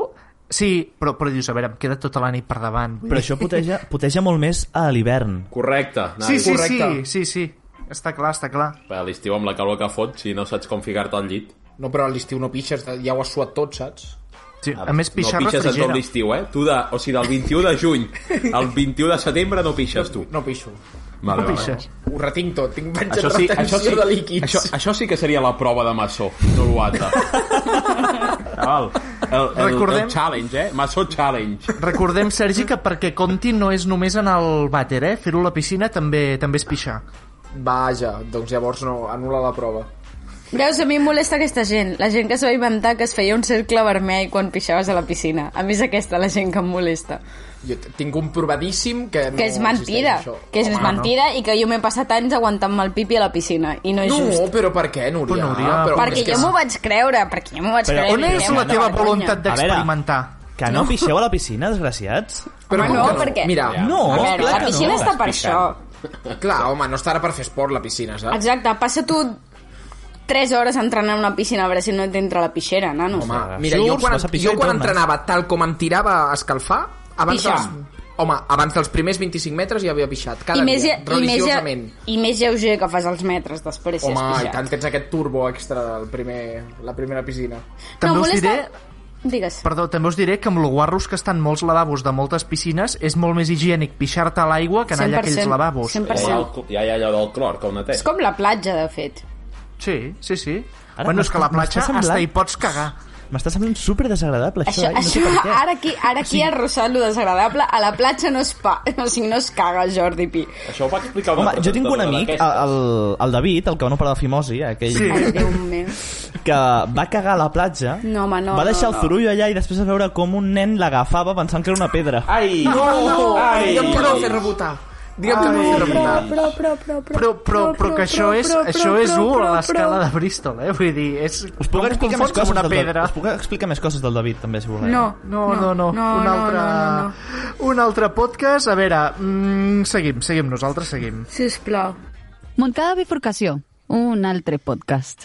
Speaker 2: Sí, però, però dius, a veure, em queda tota la nit per davant. Vull
Speaker 4: Però
Speaker 2: dir-
Speaker 4: això puteja, puteja molt més a l'hivern.
Speaker 3: Correcte. anava
Speaker 2: Sí, sí,
Speaker 3: a dir.
Speaker 2: sí,
Speaker 5: correcte.
Speaker 2: sí, sí. Està clar, està clar.
Speaker 3: Per a l'estiu amb la calor que fot, si no saps com ficar-te al llit.
Speaker 5: No, però a l'estiu no pixes, ja ho has suat tot, saps?
Speaker 2: Sí, a més, pixar
Speaker 3: no pixes en tot
Speaker 2: refrigera.
Speaker 3: l'estiu, eh? Tu de, o sigui, del 21 de juny al 21 de setembre no pixes tu.
Speaker 5: No pixo.
Speaker 3: Vale,
Speaker 2: No pixes.
Speaker 5: Ho retinc tot, tinc menys
Speaker 3: Això sí, això, sí,
Speaker 5: de líquids.
Speaker 3: això, això sí que seria la prova de maçó, no l'altre. Val. El, el,
Speaker 2: Recordem-
Speaker 3: el challenge, eh? Maçó challenge.
Speaker 2: Recordem, Sergi, que perquè compti no és només en el vàter, eh? Fer-ho a la piscina també també és pixar.
Speaker 5: Vaja, doncs llavors no, anul·la la prova.
Speaker 6: Veus, a mi em molesta aquesta gent, la gent que s'ho va inventar que es feia un cercle vermell quan pixaves a la piscina. A mi és aquesta la gent que em molesta.
Speaker 5: Jo t- tinc un provadíssim que no
Speaker 6: Que és
Speaker 5: existeix,
Speaker 6: mentida,
Speaker 5: això. Ah,
Speaker 6: que és
Speaker 5: Home,
Speaker 6: mentida i que jo m'he passat anys aguantant-me el pipi a la piscina, i no és
Speaker 5: No,
Speaker 6: just.
Speaker 5: però per què, Núria? Ah,
Speaker 2: Però, Núria,
Speaker 5: però
Speaker 6: perquè
Speaker 5: és que
Speaker 6: jo m'ho vaig creure, perquè jo m'ho vaig
Speaker 4: Però
Speaker 6: creure.
Speaker 4: on
Speaker 6: i
Speaker 4: és
Speaker 6: em
Speaker 2: És
Speaker 4: Home,
Speaker 2: la
Speaker 6: va
Speaker 2: teva
Speaker 6: donar
Speaker 2: voluntat
Speaker 4: A veure.
Speaker 2: d'experimentar.
Speaker 4: Que no pixeu a la piscina, desgraciats?
Speaker 5: Però
Speaker 6: Home,
Speaker 5: com
Speaker 6: Ah, no,
Speaker 5: que
Speaker 6: perquè-
Speaker 5: Mira,
Speaker 4: No,
Speaker 6: vergonya. A veure,
Speaker 4: clar
Speaker 6: la
Speaker 4: que
Speaker 6: piscina
Speaker 4: no.
Speaker 6: està per això.
Speaker 5: clar, home, no estarà per fer esport la piscina, saps?
Speaker 6: Exacte, passa tu 3 hores entrenant a una piscina a veure si no t'entra la pixera, nano.
Speaker 5: Home,
Speaker 4: Ostres,
Speaker 5: mira, jo
Speaker 4: surts,
Speaker 5: quan,
Speaker 4: vas a
Speaker 5: jo
Speaker 4: pixar i
Speaker 5: quan
Speaker 4: tornes.
Speaker 5: entrenava tal com em tirava a escalfar, abans
Speaker 6: Pixar.
Speaker 5: dels, home, abans dels primers 25 metres ja havia pixat, cada
Speaker 6: I més,
Speaker 5: dia,
Speaker 6: i, més,
Speaker 5: religiosament.
Speaker 6: I més lleuger que fas els metres després, si
Speaker 5: Home,
Speaker 6: has
Speaker 5: i
Speaker 6: pixat.
Speaker 5: tant tens aquest turbo extra del primer, la primera piscina.
Speaker 2: També us
Speaker 6: molesta-
Speaker 2: diré...
Speaker 6: Digues.
Speaker 2: Perdó, també us diré que amb lo guarros que estan molts lavabos de moltes piscines és molt més higiènic pixar-te a l'aigua que anar allà a aquells
Speaker 6: 100%,
Speaker 2: lavabos.
Speaker 6: 100%.
Speaker 3: Ja hi ha, el, ja hi ha allò del clor, que ho neteja.
Speaker 6: És com la platja, de fet.
Speaker 2: Sí, sí, sí.
Speaker 4: Ara
Speaker 2: bueno, és que a la
Speaker 4: m'està-
Speaker 2: platja
Speaker 4: m'està semblant-
Speaker 2: hasta hi pots cagar.
Speaker 4: M'està semblant super desagradable, això,
Speaker 6: Això,
Speaker 4: eh? I no sé
Speaker 6: això
Speaker 4: per què.
Speaker 6: ara aquí, ara aquí ha rossat lo desagradable. A la platja no es, pa, o sigui, no es caga, Jordi Pi.
Speaker 3: Això ho va explicar una
Speaker 4: Home, jo tinc un amic,
Speaker 3: presentadora d'aquestes.
Speaker 4: el, el David, el que va no parar de fimosi, eh, aquell
Speaker 2: Sí.
Speaker 6: Ai, Déu meu.
Speaker 4: que va cagar a la platja,
Speaker 6: No, home, no,
Speaker 4: va deixar
Speaker 6: no, no.
Speaker 4: el zurullo allà i després a veure com un nen l'agafava pensant que era una pedra.
Speaker 3: Ai! No, ai!
Speaker 5: Digue'm que no fer rebotar. Digue'm que no fer rebotar.
Speaker 2: Però, però, però que això és, això és 1 a l'escala de Bristol, eh? Vull dir, és...
Speaker 4: Us puc
Speaker 2: no
Speaker 4: explicar més
Speaker 2: confons amb
Speaker 4: coses
Speaker 2: una
Speaker 4: del,
Speaker 2: pedra.
Speaker 4: Us puc explicar més coses del David, també, si voleu.
Speaker 6: No,
Speaker 2: No, no, no.
Speaker 6: no,
Speaker 2: un,
Speaker 6: no,
Speaker 2: altre,
Speaker 6: no, no, no.
Speaker 2: un altre podcast. A veure, mm, seguim, seguim, nosaltres seguim.
Speaker 6: Sisplau.
Speaker 8: Montcada Bifurcació, un altre podcast.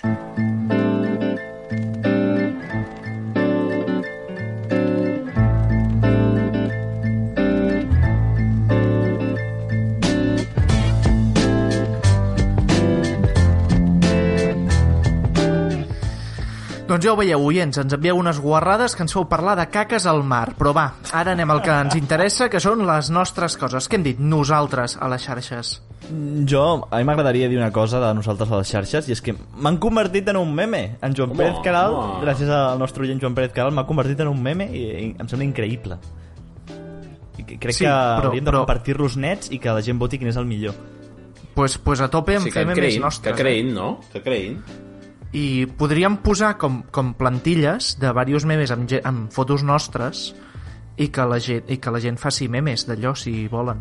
Speaker 2: Doncs Doncs ja ho veieu, oients, ens envieu unes guarrades que ens feu parlar de caques al mar. Però va, ara anem al que ens interessa, que són les nostres coses. Què hem dit nosaltres a les xarxes?
Speaker 4: Jo, a mi m'agradaria dir una cosa de nosaltres a les xarxes, i és que m'han convertit en un meme. En Joan Pérez Caral, gràcies al nostre oient Joan Pérez Caral, m'ha convertit en un meme i, i em sembla increïble. I que- crec
Speaker 2: Sí,
Speaker 4: que
Speaker 2: però-
Speaker 4: hauríem de
Speaker 2: però-
Speaker 4: compartir-los nets i que la gent voti quin és el millor.
Speaker 2: Pues, pues a tope en
Speaker 3: Sí, que
Speaker 2: fem
Speaker 3: en
Speaker 2: més
Speaker 3: creïn, que
Speaker 2: nostres. eh?
Speaker 3: creïn, no? Que creïn.
Speaker 2: i podríem posar com, com plantilles de diversos memes amb, ge- amb fotos nostres i que, la gent, i que la gent faci memes d'allò si volen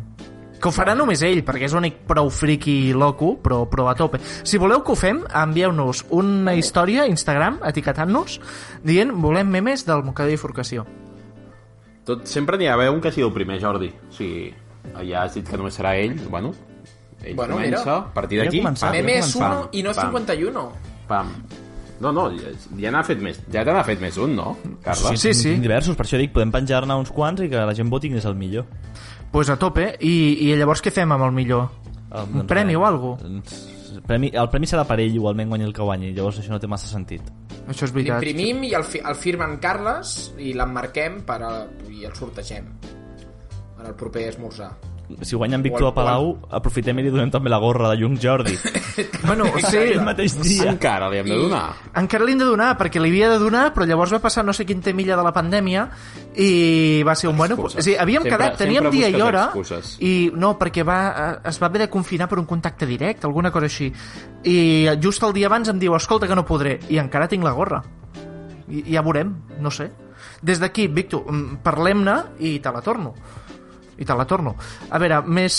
Speaker 2: que ho farà només ell, perquè és l'únic prou friki i loco, però, però a tope. Si voleu que ho fem, envieu-nos una història a Instagram, etiquetant-nos, dient volem memes del Moncada i Forcació.
Speaker 3: Tot, sempre n'hi ha d'haver un que sigui el primer, Jordi. O sigui, ja has dit que només serà ell, bueno, ell
Speaker 5: Bueno,
Speaker 3: bueno, comença,
Speaker 5: mira.
Speaker 3: a partir
Speaker 4: Ja
Speaker 3: d'aquí...
Speaker 4: comença,
Speaker 3: pam,
Speaker 4: ja
Speaker 5: Meme és
Speaker 4: comença.
Speaker 5: 1
Speaker 3: pam,
Speaker 5: i no és
Speaker 3: pam,
Speaker 5: 51.
Speaker 3: Pam. No, no, ja, ja n'ha fet més, ja te n'ha fet més un, no, Carles?
Speaker 2: Sí, sí.
Speaker 4: Diversos, per això dic, podem penjar-ne uns quants i que la gent voti quin és el millor.
Speaker 2: Pues a tope, i, i llavors què fem amb el millor?
Speaker 4: Um,
Speaker 2: Un premi o algo?
Speaker 4: Premi, el premi serà per ell, igualment guanyi el que guanyi, llavors això no té massa sentit.
Speaker 2: Això és veritat.
Speaker 5: L'imprimim i el, fi, el firmen Carles i l'emmarquem per a, i el sortegem en el proper esmorzar.
Speaker 4: Si guanya en Víctor
Speaker 5: Guan-
Speaker 4: Palau, aprofitem i li donem també la gorra de Jung Jordi.
Speaker 2: Bueno, sí,
Speaker 4: el mateix
Speaker 3: Sí,
Speaker 4: dia.
Speaker 3: Encara li hem de donar.
Speaker 2: Encara li hem de donar, perquè li havia de donar, però llavors va passar no sé quin temilla de la pandèmia i va ser un bueno...
Speaker 3: Excuses.
Speaker 2: O sigui, havíem
Speaker 3: Sempre-
Speaker 2: quedat, teníem
Speaker 3: sempre
Speaker 2: dia i
Speaker 3: busques
Speaker 2: hora
Speaker 3: excuses.
Speaker 2: i no, perquè va, eh, es va haver de confinar per un contacte directe, alguna cosa així. I just el dia abans em diu, escolta, que no podré, i encara tinc la gorra. I, ja veurem, no sé. Des d'aquí, Víctor, mm, parlem-ne i te la torno. I te la torno. A veure, més,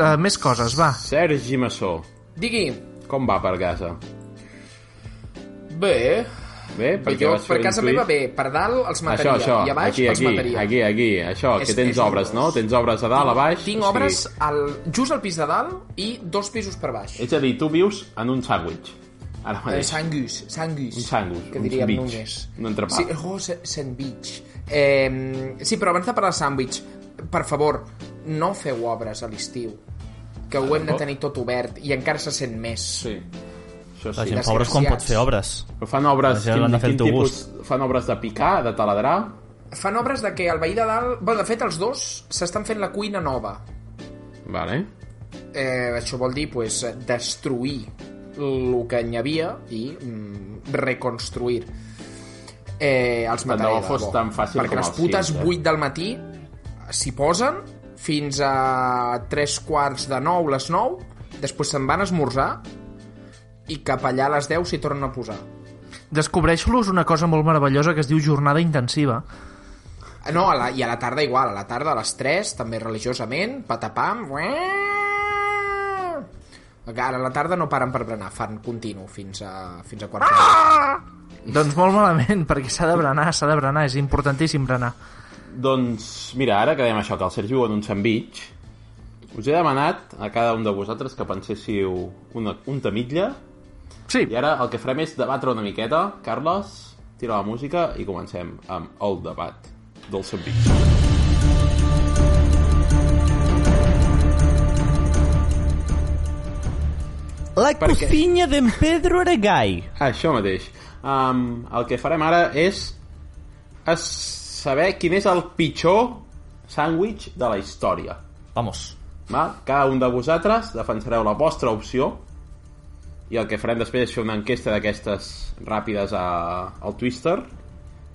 Speaker 2: eh, més coses, va.
Speaker 3: Sergi Massó,
Speaker 5: Digui,
Speaker 3: com va per casa?
Speaker 5: bé,
Speaker 3: Bé?
Speaker 5: Perquè jo,
Speaker 3: vas fer
Speaker 5: per
Speaker 3: un
Speaker 5: casa
Speaker 3: tuit?
Speaker 5: meva bé, per dalt els mataria
Speaker 3: Això, això,
Speaker 5: i a baix
Speaker 3: aquí,
Speaker 5: els
Speaker 3: aquí,
Speaker 5: mataria.
Speaker 3: aquí, aquí, això,
Speaker 5: És-
Speaker 3: que tens
Speaker 5: és
Speaker 3: obres, no?
Speaker 5: horrorós.
Speaker 3: Tens obres a dalt, a baix...
Speaker 5: Tinc
Speaker 3: o sigui,
Speaker 5: obres al, just al pis de dalt i dos pisos per baix.
Speaker 3: És a dir, tu vius en un sàndwich. Ara
Speaker 5: Eh,
Speaker 3: mateix.
Speaker 5: sanguis, sanguis.
Speaker 3: Un sanguis,
Speaker 5: Que
Speaker 3: un
Speaker 5: diríem
Speaker 3: sandwich,
Speaker 5: només.
Speaker 3: un entrepà.
Speaker 5: Sí, oh, sa- sandwich. Eh, sí, però abans de parlar de sandwich, per favor, no feu obres a l'estiu, que ho hem de tenir tot obert i encara se sent més.
Speaker 3: Ah, Sí. Això
Speaker 4: La
Speaker 3: sí.
Speaker 4: gent pobra és quan pot fer obres.
Speaker 3: Però fan obres...
Speaker 4: La gent l'han de fer al teu
Speaker 3: Fan obres de picar, de taladrar...
Speaker 5: Fan obres de que el veí de dalt... Bé, de fet, els dos s'estan fent la cuina nova.
Speaker 3: Vale.
Speaker 5: Eh, això vol dir, pues, destruir el que n'hi havia i mm, reconstruir. Eh, els
Speaker 3: Tant de
Speaker 5: mataré
Speaker 3: bo fos
Speaker 5: debò.
Speaker 3: tan fàcil
Speaker 5: Perquè
Speaker 3: com
Speaker 5: les
Speaker 3: els
Speaker 5: putes
Speaker 3: Sims, eh?
Speaker 5: 8 del matí s'hi posen fins a 3 quarts de 9, les 9, després se'n van a esmorzar i cap allà a les 10 s'hi tornen a posar.
Speaker 2: Descobreix-los una cosa molt meravellosa que es diu jornada intensiva.
Speaker 5: Ah, No, a la, i a la tarda igual, a la tarda a les 3, també religiosament, patapam... ué. Ara a la tarda no paren per berenar, fan continu fins a, fins a quarts ah!
Speaker 2: Doncs molt malament, perquè s'ha de berenar, s'ha de berenar, és importantíssim berenar.
Speaker 3: Doncs, mira, ara que dèiem això, que el Sergi viu en un sandwich, us he demanat a cada un de vosaltres que penséssiu una, un tamitlla,
Speaker 2: Sí,
Speaker 3: i ara el que farem és debatre una miqueta. Carles, tira la música i comencem amb el debat del sandwich.
Speaker 7: La
Speaker 3: Per què?
Speaker 7: cocinya d'en Pedro era gai.
Speaker 3: Això mateix. Um, el que farem ara és es saber quin és el pitjor sàndwich de la història.
Speaker 4: Vamos.
Speaker 3: Val? Cada un de vosaltres defensareu la vostra opció i el que farem després és fer una enquesta d'aquestes ràpides a, al Twister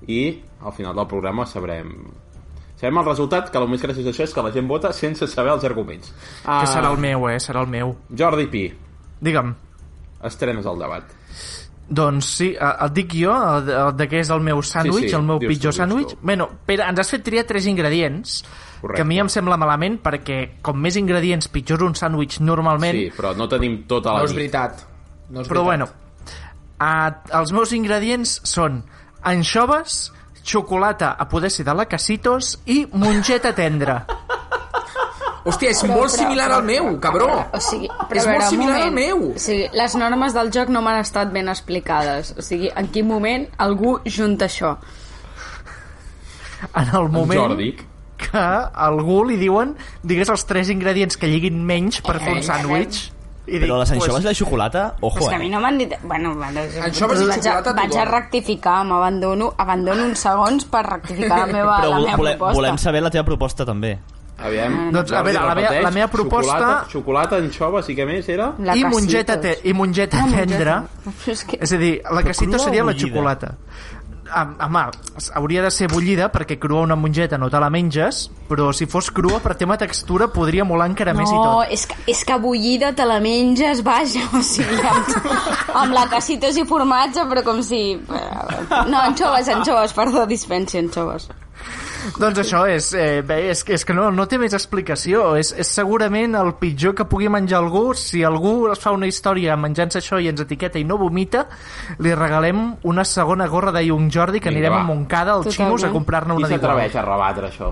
Speaker 3: i al final del programa sabrem sabrem el resultat, que el més graciós d'això és que la gent vota sense saber els arguments.
Speaker 2: que serà el meu, eh? Serà el meu.
Speaker 3: Jordi Pi,
Speaker 2: Digue'm.
Speaker 3: estrenes el debat.
Speaker 2: Doncs sí, eh, et dic jo eh, de, de què és el meu sàndwich,
Speaker 3: Sí, sí,
Speaker 2: el meu
Speaker 3: dius tu,
Speaker 2: pitjor
Speaker 3: dius
Speaker 2: sàndwich.
Speaker 3: tu.
Speaker 2: Bueno, Pere, ens has fet triar tres ingredients,
Speaker 3: Correcte.
Speaker 2: que a mi em sembla malament, perquè com més ingredients, pitjor un sàndwich normalment.
Speaker 3: Sí, però no tenim tota la
Speaker 5: No és
Speaker 3: nit.
Speaker 5: veritat. No és
Speaker 2: Però bueno,
Speaker 5: veritat.
Speaker 2: a, els meus ingredients són anxoves, xocolata a poder ser de la Casitos i mongeta tendra.
Speaker 5: Hòstia, és molt similar al meu, cabró.
Speaker 6: O sigui, però
Speaker 5: És
Speaker 6: a veure,
Speaker 5: molt
Speaker 6: un
Speaker 5: similar al
Speaker 6: moment.
Speaker 5: meu.
Speaker 6: O sigui, les normes del joc no m'han estat ben explicades. O sigui, en quin moment algú junta això?
Speaker 2: En el
Speaker 3: En
Speaker 2: moment...
Speaker 3: Jordi,
Speaker 2: que a algú li diuen digues els tres ingredients que lliguin menys per fer un
Speaker 5: Eh,
Speaker 2: sàndwich I
Speaker 4: Però les anxoves
Speaker 2: pues,
Speaker 4: i la xocolata, ojo,
Speaker 6: És que a mi
Speaker 4: eh?
Speaker 6: no m'han dit... Bueno, bueno
Speaker 5: Anxoves i
Speaker 6: vaig, a,
Speaker 5: xocolata
Speaker 6: vaig a
Speaker 5: tothom.
Speaker 6: rectificar, m'abandono abandono uns segons per rectificar la meva,
Speaker 4: Però
Speaker 6: la meva
Speaker 4: volem,
Speaker 6: proposta.
Speaker 4: volem saber la teva proposta també.
Speaker 3: Aviam.
Speaker 2: Doncs, a veure, la meva- la meva proposta-
Speaker 3: Xocolata, xocolata anxoves i què més era?
Speaker 6: La
Speaker 2: I
Speaker 6: Casitos.
Speaker 2: mongeta, te, i mongeta
Speaker 6: Ah, mongeta.
Speaker 2: tendra.
Speaker 6: És que...
Speaker 2: És a dir, la casita
Speaker 4: crua o
Speaker 2: seria la
Speaker 4: bullida?
Speaker 2: xocolata. Am- Home, s- hauria de ser bullida perquè crua una mongeta no te la menges, però si fos crua per tema textura podria molar encara més i
Speaker 6: No,
Speaker 2: tot.
Speaker 6: és que, és que bullida te la menges, vaja, o sigui, amb, amb la cacitos i formatge, però com si... eh, No, anxoves, anxoves, perdó, dispensi, anxoves.
Speaker 2: Doncs això és, eh, bé, és, que- és que no, no té més explicació. És, és segurament el pitjor que pugui menjar algú. Si algú es fa una història menjant-se això i ens etiqueta i no vomita, li regalem una segona gorra de Young Jordi que
Speaker 3: Vinga,
Speaker 2: anirem a
Speaker 3: va.
Speaker 2: Montcada al
Speaker 6: Totalment.
Speaker 2: Xinos a comprar-ne
Speaker 3: Qui
Speaker 2: una d'igual.
Speaker 3: s'atreveix a rebatre això?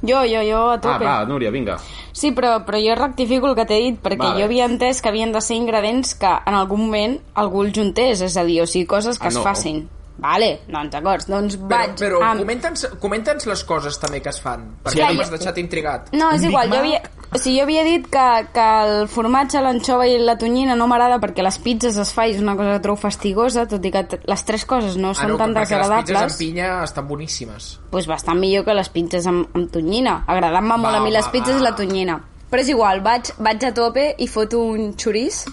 Speaker 6: Jo, jo, jo, a
Speaker 3: Ah,
Speaker 6: tope.
Speaker 3: va, Núria, vinga.
Speaker 6: Sí, però, però jo rectifico el que t'he dit, perquè
Speaker 3: Vale.
Speaker 6: vale. jo havia entès que havien de ser ingredients que en algun moment algú els juntés, és a dir, o sigui, coses que
Speaker 3: Ah,
Speaker 6: es
Speaker 3: no.
Speaker 6: facin. Vale, doncs d'acord, doncs
Speaker 5: Però,
Speaker 6: vaig
Speaker 5: però
Speaker 6: amb...
Speaker 5: comenta'ns, comenta'ns les coses també que es fan, perquè
Speaker 6: Clar,
Speaker 5: no
Speaker 6: jo-
Speaker 5: m'has deixat intrigat.
Speaker 6: No, és
Speaker 2: Un
Speaker 6: igual,
Speaker 2: Big
Speaker 6: jo havia, o sigui, jo havia dit que, que el formatge, l'anxova i la tonyina no m'agrada perquè les pizzas es fa i és una cosa que trobo fastigosa, tot i que t- les tres coses no són
Speaker 5: Ah, no,
Speaker 6: tan
Speaker 5: perquè les pizzas
Speaker 6: desagradables,
Speaker 5: amb pinya estan boníssimes.
Speaker 6: doncs bastant millor que les pizzas amb, amb tonyina. Agradant-me molt
Speaker 5: Va,
Speaker 6: a mi les
Speaker 5: va,
Speaker 6: pizzas
Speaker 5: va.
Speaker 6: i la tonyina. Però és igual, vaig, vaig a tope i foto un xurís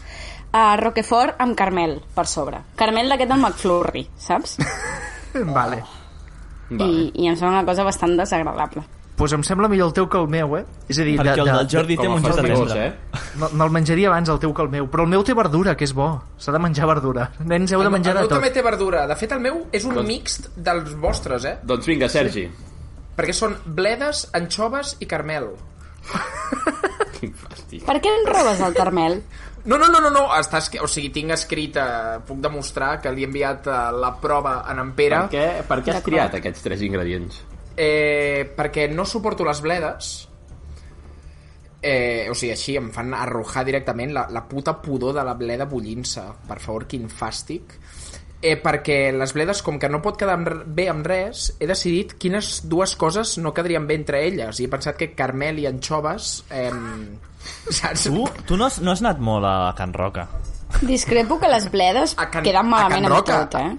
Speaker 6: a Roquefort amb carmel per sobre. Carmel d'aquest del McFlurry, saps?
Speaker 2: Vale.
Speaker 3: Vale.
Speaker 6: I, I em sembla una cosa bastant desagradable.
Speaker 2: Pues em sembla millor el teu que el meu, eh? És a dir,
Speaker 4: Perquè
Speaker 2: de,
Speaker 4: el
Speaker 2: de,
Speaker 4: del Jordi té
Speaker 3: Com a
Speaker 4: un gest de
Speaker 3: fastigós,
Speaker 4: tendre.
Speaker 3: eh?
Speaker 2: No, no el menjaria abans el teu que el meu, però el meu té verdura, que és bo. S'ha de menjar verdura. Nens, heu de menjar
Speaker 5: el
Speaker 2: de
Speaker 5: meu també
Speaker 2: tot.
Speaker 5: té verdura. De fet, el meu és un
Speaker 3: Doncs-
Speaker 5: mixt dels vostres, eh?
Speaker 3: Doncs vinga, Sergi.
Speaker 5: Perquè són bledes, anxoves i carmel.
Speaker 3: Quin fàstic.
Speaker 6: Per què em robes el carmel?
Speaker 5: No, no, no, no, no. Està, escri- o sigui, tinc escrita, puc demostrar que li he enviat eh, la prova a en Pere
Speaker 3: Per què, per què has triat aquests tres ingredients?
Speaker 5: eh, perquè no suporto les bledes eh, o sigui, així em fan arrojar directament la, la puta pudor de la bleda bullint-se per favor, quin fàstic eh, perquè les bledes, com que no pot quedar amb, r- bé amb res, he decidit quines dues coses no quedarien bé entre elles i he pensat que carmel i anxoves eh, saps?
Speaker 4: Tu, tu no, has, no has anat molt a Can Roca.
Speaker 6: Discrepo que les bledes
Speaker 5: A Can-
Speaker 6: queden
Speaker 5: a
Speaker 6: malament
Speaker 5: Can
Speaker 6: amb
Speaker 5: Roca.
Speaker 6: tot, eh?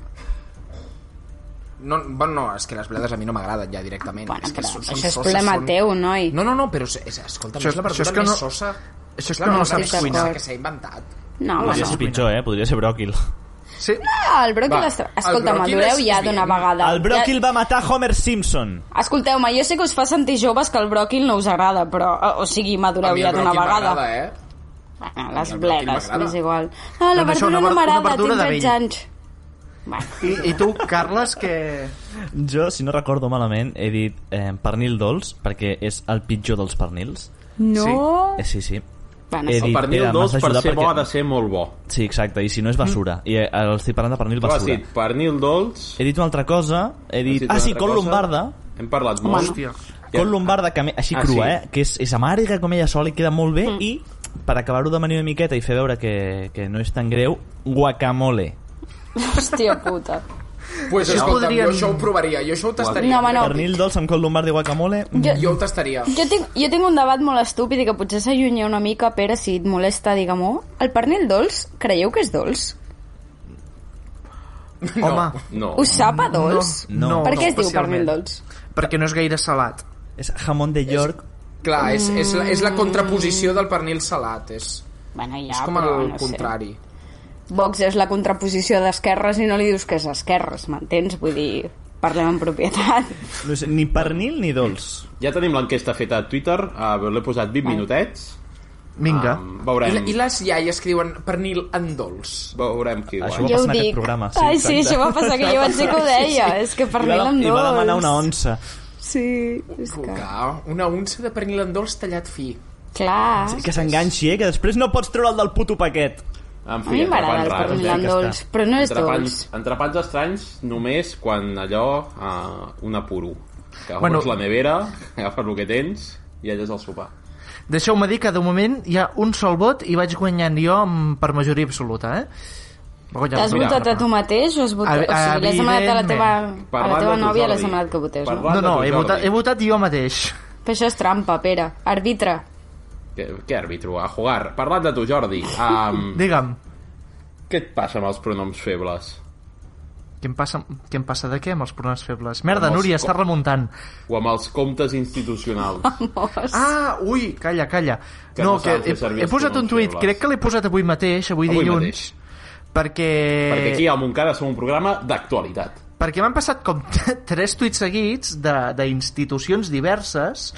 Speaker 5: No, bueno, no, és que les bledes a mi no m'agraden ja directament.
Speaker 6: Bueno,
Speaker 5: és que
Speaker 6: però
Speaker 5: són-
Speaker 6: això
Speaker 5: són
Speaker 6: és
Speaker 5: soses,
Speaker 6: problema
Speaker 5: són-
Speaker 6: teu, noi.
Speaker 5: No, no, no, però és, és, escolta,
Speaker 2: Això
Speaker 5: és la
Speaker 2: és- això és
Speaker 5: verdura
Speaker 2: que
Speaker 5: més
Speaker 2: no-
Speaker 5: sosa.
Speaker 2: això és
Speaker 5: Clar,
Speaker 2: que no ho
Speaker 5: la
Speaker 2: saps
Speaker 5: veritat és
Speaker 2: cuinar.
Speaker 5: Que s'ha inventat.
Speaker 6: No, home,
Speaker 4: Això és
Speaker 6: no.
Speaker 4: pitjor, eh? Podria ser bròquil.
Speaker 2: Sí,
Speaker 6: Ah, el bròquil...
Speaker 3: Va,
Speaker 6: Està... Escolta,
Speaker 5: bròquil
Speaker 6: madureu
Speaker 5: és
Speaker 6: ja d'una
Speaker 5: bien.
Speaker 6: vegada.
Speaker 4: El bròquil va matar Homer Simpson.
Speaker 6: Ja... Escolteu-me, jo sé que us fa sentir joves que el bròquil no us agrada, però... eh, O sigui, madureu ja d'una vegada.
Speaker 5: M'agrada, eh?
Speaker 6: Bueno,
Speaker 5: mi
Speaker 6: les
Speaker 5: el bròquil
Speaker 6: bledes,
Speaker 5: m'agrada.
Speaker 6: m'és igual. Ah, la
Speaker 2: Doncs això, una
Speaker 6: verdura no
Speaker 2: ver- una
Speaker 6: m'agrada,
Speaker 2: verdura
Speaker 6: tinc
Speaker 2: de
Speaker 6: 13
Speaker 2: vell.
Speaker 6: anys. Bueno,
Speaker 2: I, i tu, Carles, que...
Speaker 4: Jo, si no recordo malament, he dit eh, pernil dolç, perquè és el pitjor dels pernils.
Speaker 6: no...
Speaker 4: Eh, sí, sí.
Speaker 6: Oh. Bueno,
Speaker 4: He
Speaker 2: Eh.
Speaker 6: sí.
Speaker 4: dit,
Speaker 3: El pernil
Speaker 4: Pere,
Speaker 3: dolç,
Speaker 4: m'has
Speaker 3: per
Speaker 4: d'ajudar
Speaker 3: ser
Speaker 4: perquè-
Speaker 3: bo, ha de ser molt bo.
Speaker 4: Sí, exacte, i si no és basura.
Speaker 6: Mm.
Speaker 4: I eh, el estic parlant de pernil
Speaker 3: Tu has
Speaker 4: basura.
Speaker 3: dit pernil dolç...
Speaker 4: He dit una altra cosa, he
Speaker 3: has
Speaker 4: dit...
Speaker 3: dit
Speaker 4: Ah,
Speaker 3: una
Speaker 4: sí,
Speaker 3: altra
Speaker 4: col
Speaker 3: cosa.
Speaker 4: lombarda.
Speaker 3: Hem parlat molt.
Speaker 2: Hòstia.
Speaker 4: Col lombarda, que a mi- així
Speaker 3: Ah,
Speaker 4: crua,
Speaker 3: sí.
Speaker 4: eh? Que és, és amarga com ella sola i queda molt bé.
Speaker 6: Mm.
Speaker 4: I, per acabar-ho de manera una miqueta i fer veure que, que no és tan greu, guacamole.
Speaker 6: Hòstia puta.
Speaker 5: Pues,
Speaker 2: Això
Speaker 5: escolta,
Speaker 2: podríem-
Speaker 5: jo això ho provaria, jo això ho tastaria.
Speaker 6: No, home, no.
Speaker 4: Pernil dolç amb col lombarda i guacamole... mm.
Speaker 6: Jo,
Speaker 5: Jo ho tastaria.
Speaker 6: Jo tinc, jo tinc un debat molt estúpid i que potser s'allunya una mica, Pere, si et molesta, digue-m'ho. El pernil dolç, creieu que és dolç?
Speaker 2: Home,
Speaker 3: No.
Speaker 6: Us sap a dolç?
Speaker 4: No, no,
Speaker 6: per què es diu
Speaker 2: especialment.
Speaker 6: pernil dolç?
Speaker 2: perquè no és gaire salat.
Speaker 4: És jamón de York.
Speaker 5: Clar, és, és, la, és la contraposició del pernil salat, és,
Speaker 6: Bueno, Mm. ja,
Speaker 5: és com
Speaker 6: però,
Speaker 5: el
Speaker 6: no
Speaker 5: contrari.
Speaker 6: Sé. Vox és la contraposició d'esquerres i no li dius que és esquerres, m'entens? Vull dir, parlem en propietat.
Speaker 4: No és ni pernil ni dolç.
Speaker 3: Ja tenim l'enquesta feta a Twitter, eh, l'he posat 20 minutets.
Speaker 2: Vinga.
Speaker 3: Em,
Speaker 5: I,
Speaker 3: veurem,
Speaker 5: la- I les iaies que diuen pernil en dolç.
Speaker 3: veurem qui
Speaker 4: Això
Speaker 3: guanya.
Speaker 4: va
Speaker 6: ja ho
Speaker 4: passar en aquest
Speaker 6: dic.
Speaker 4: programa, sí,
Speaker 6: Ai, sí,
Speaker 4: exacte.
Speaker 6: això va passar que jo vaig dir que ho deia. És que
Speaker 4: I
Speaker 6: pernil
Speaker 4: va,
Speaker 6: amb
Speaker 4: I
Speaker 6: dolç.
Speaker 4: va demanar una onça.
Speaker 6: Sí, és que...
Speaker 5: Clar, una unça de pernil en dolç tallat fi.
Speaker 6: Clar.
Speaker 4: Que s'enganxi, eh? Que després no pots treure'l del puto paquet.
Speaker 3: En
Speaker 6: A mi m'agrada
Speaker 3: entrepans
Speaker 6: el
Speaker 3: raros,
Speaker 6: pernil
Speaker 3: eh?
Speaker 6: amb dolç, però no és dolç.
Speaker 3: Entrepans, entrepans estranys només quan allò eh, un apuro. Que
Speaker 2: Bueno.
Speaker 3: bueno, la nevera, agafes el que tens i allà és el sopar.
Speaker 2: Deixeu-me dir que de moment hi ha un sol vot i vaig guanyant jo amb, per majoria absoluta, eh? Va guanyar
Speaker 6: T'has
Speaker 2: la
Speaker 6: votat a
Speaker 2: Carla.
Speaker 6: tu mateix o has votat...
Speaker 2: Evi-
Speaker 6: O sigui, l'has demanat a la teva, a la
Speaker 3: Parlant
Speaker 6: teva
Speaker 3: de tu,
Speaker 6: nòvia l'has
Speaker 3: Jordi.
Speaker 6: demanat que votés, no?
Speaker 3: Parlant
Speaker 2: No, no,
Speaker 3: de tu,
Speaker 2: he
Speaker 3: Jordi.
Speaker 2: votat, he votat jo mateix.
Speaker 6: Però això és trampa, Pere. Arbitre.
Speaker 3: Què, què àrbitro? A jugar. Parlant de tu, Jordi, um,
Speaker 2: Digue'm,
Speaker 3: què et passa amb els pronoms febles?
Speaker 2: què em, passa, què em passa de què amb els pronoms febles? Merda,
Speaker 3: Amb els
Speaker 2: Núria,
Speaker 3: co-
Speaker 2: està remuntant.
Speaker 3: O amb els comptes institucionals?
Speaker 6: Vamos.
Speaker 2: Ah, ui, calla, calla.
Speaker 3: Que
Speaker 2: no,
Speaker 3: no
Speaker 2: que
Speaker 3: saben
Speaker 2: he,
Speaker 3: fer servir
Speaker 2: he
Speaker 3: els
Speaker 2: posat un
Speaker 3: pronoms
Speaker 2: tuit,
Speaker 3: febles.
Speaker 2: crec que l'he posat avui mateix, avui,
Speaker 3: Avui
Speaker 2: dilluns,
Speaker 3: mateix.
Speaker 2: perquè...
Speaker 3: Perquè aquí al Montcada som un programa d'actualitat.
Speaker 2: perquè m'han passat com tres tuits seguits de- d'institucions diverses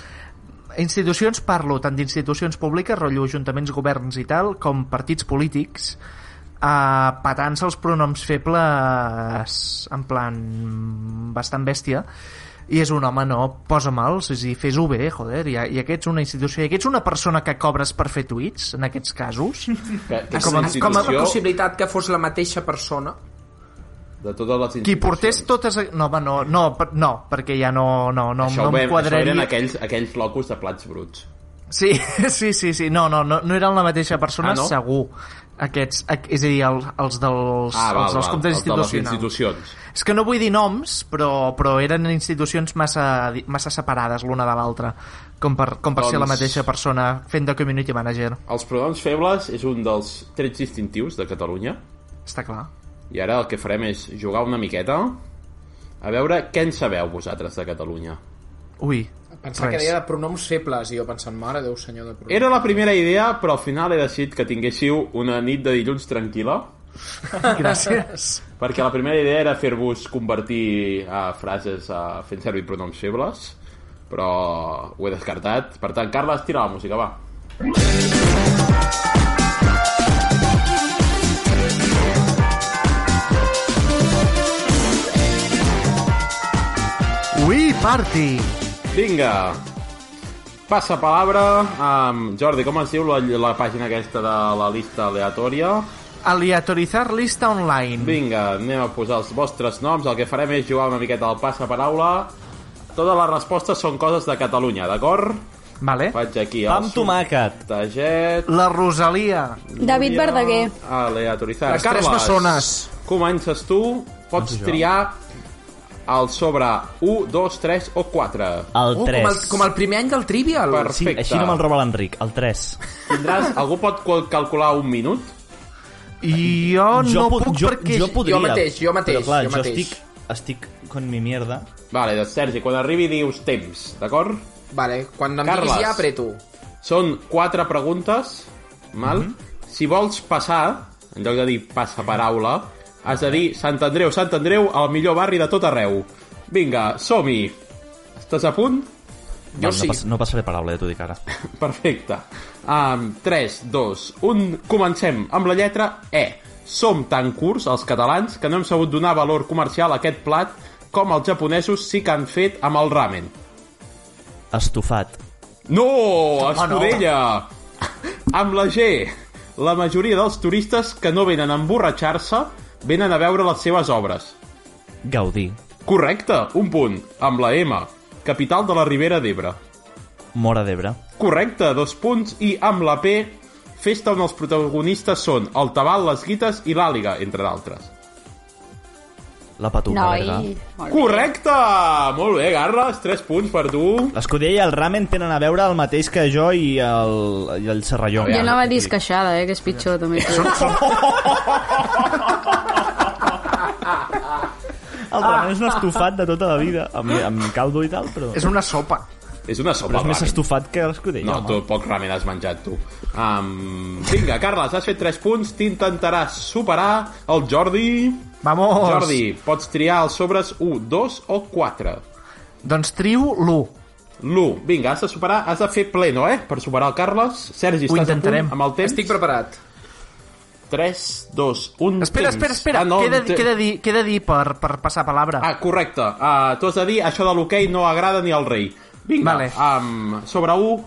Speaker 2: institucions parlo tant d'institucions públiques, rotllo ajuntaments, governs i tal, com partits polítics eh, petant-se els pronoms febles en plan bastant bèstia i és un home, no, posa mal és a dir, fes-ho bé, joder, i, i aquests una institució i aquests una persona que cobres per fer tuits en aquests casos
Speaker 3: Que, que és
Speaker 5: Com
Speaker 3: una
Speaker 5: a, com a
Speaker 3: institució
Speaker 5: possibilitat que fos la mateixa persona
Speaker 3: de totes les institucions.
Speaker 2: qui portés totes... No, home, no, no, per- no perquè ja no, no, no,
Speaker 3: Això,
Speaker 2: no
Speaker 3: ho
Speaker 2: em
Speaker 3: vam, això
Speaker 2: quadraria...
Speaker 3: eren aquells, aquells locos de plats bruts.
Speaker 2: Sí, sí, sí, sí. No, no, no, no eren la mateixa persona,
Speaker 3: Ah, no?
Speaker 2: segur. Aquests, ac- és a dir, el, els dels,
Speaker 3: Ah, val,
Speaker 2: els dels
Speaker 3: val,
Speaker 2: comptes
Speaker 3: els de les
Speaker 2: institucionals.
Speaker 3: institucions.
Speaker 2: És que no vull dir noms, però, però eren institucions massa, di- massa separades l'una de l'altra, com per, com per doncs... ser la
Speaker 3: Doncs-
Speaker 2: mateixa persona fent de community manager.
Speaker 3: Els pronoms febles és un dels trets distintius de Catalunya.
Speaker 2: Està clar.
Speaker 3: I ara el que farem és jugar una miqueta a veure què en sabeu vosaltres de Catalunya.
Speaker 2: Ui,
Speaker 5: pensar que
Speaker 2: res.
Speaker 5: deia de pronoms febles i jo pensant, mare Déu senyor de pronoms
Speaker 3: Era la primera idea, però al final he decidit que tinguéssiu una nit de dilluns tranquil·la,
Speaker 2: Gràcies.
Speaker 3: perquè la primera idea era fer-vos convertir a frases a fent servir pronoms febles, però ho he descartat. Per tant, Carles, tira la música, va.
Speaker 2: Ui, party!
Speaker 3: Vinga! Passa palabra. Um, Jordi, com es diu la, la pàgina aquesta de la lista aleatòria?
Speaker 2: Aleatorizar lista online.
Speaker 3: Vinga, anem a posar els vostres noms. El que farem és jugar una miqueta al passaparaula. Totes les respostes són coses de Catalunya, d'acord?
Speaker 2: Vale.
Speaker 3: Faig aquí
Speaker 4: Pa amb
Speaker 3: el
Speaker 4: tomàquet.
Speaker 3: Taget,
Speaker 2: La Rosalia.
Speaker 6: David Verdaguer.
Speaker 3: aleatoritzar.
Speaker 5: Les tres Doncs bessones.
Speaker 3: Comences tu, pots triar el sobre 1, 2, 3 o 4.
Speaker 4: El
Speaker 5: Oh,
Speaker 4: 3.
Speaker 5: com, el, com el primer any del Trivial.
Speaker 3: Per-
Speaker 4: Sí,
Speaker 3: Perfecte.
Speaker 4: així no me'l roba l'Enric. El 3.
Speaker 3: Tindràs... Algú pot qual- calcular un minut?
Speaker 2: I jo, no puc,
Speaker 4: jo,
Speaker 2: perquè...
Speaker 4: jo podria.
Speaker 5: jo mateix, jo mateix,
Speaker 4: Però clar,
Speaker 5: jo mateix.
Speaker 4: estic, estic con mi mierda.
Speaker 3: Vale, doncs, Sergi, quan arribi dius temps, d'acord?
Speaker 5: Vale, quan em diguis
Speaker 3: Carles.
Speaker 5: ja, apreto.
Speaker 3: Són quatre preguntes, mal?
Speaker 5: Mhm.
Speaker 3: Si vols passar, en lloc de dir passa paraula, has de dir Sant Andreu, Sant Andreu, el millor barri de tot arreu. Vinga, som-hi! Estàs a punt?
Speaker 5: Jo
Speaker 4: Val,
Speaker 5: sí.
Speaker 4: no, pas, no passaré paraula, ja t'ho dic ara.
Speaker 3: Perfecte. Um, 3, 2, 1... Comencem amb la lletra E. Som tan curts, els catalans, que no hem sabut donar valor comercial a aquest plat com els japonesos sí que han fet amb el ramen.
Speaker 4: Estofat.
Speaker 3: No! Escudella! amb la G. La majoria dels turistes que no venen a emborratxar-se venen a veure les seves obres.
Speaker 4: Gaudí.
Speaker 3: Correcte, un punt. Amb la M. Capital de la Ribera d'Ebre.
Speaker 4: Mora d'Ebre.
Speaker 3: Correcte, dos punts. I amb la P, festa on els protagonistes són el tabal, les guites i l'àliga, entre d'altres.
Speaker 4: La Patumba, Berga.
Speaker 6: Noi. Molt bé.
Speaker 3: Correcte! Molt bé, Garles, tres punts per tu.
Speaker 4: L'escudella i el ramen tenen a veure el mateix que jo i el, i el serralló.
Speaker 6: Jo anava disqueixada, eh, que és pitjor, també.
Speaker 4: El ramen és un estofat de tota la vida, amb, amb caldo i tal, però...
Speaker 2: És una sopa.
Speaker 3: És una sopa,
Speaker 4: Però és més
Speaker 3: ramen.
Speaker 4: estofat que l'escudella,
Speaker 3: No,
Speaker 4: home.
Speaker 3: tu poc ramen has menjat, tu. Um, vinga, Carles, has fet tres punts, t'intentaràs superar el Jordi.
Speaker 2: Vamos!
Speaker 3: Jordi, pots triar els sobres 1, 2 o 4.
Speaker 2: Doncs trio l'1.
Speaker 3: L'1. Vinga, has de superar, has de fer pleno, eh? Per superar el Carles. Sergi,
Speaker 2: Ho
Speaker 3: estàs
Speaker 2: intentarem.
Speaker 3: a punt amb el temps?
Speaker 5: Estic preparat.
Speaker 3: 3, 2, 1...
Speaker 2: Espera,
Speaker 3: temps.
Speaker 2: espera, espera. Ah, no,
Speaker 3: un
Speaker 2: queda,
Speaker 3: te-
Speaker 2: queda, dir, queda dir per, per passar palabra. Ah.
Speaker 3: Ah, correcte. Uh, tu has de dir, això de l'hoquei no agrada ni al rei. Vinga,
Speaker 2: Vale.
Speaker 3: um, sobre 1,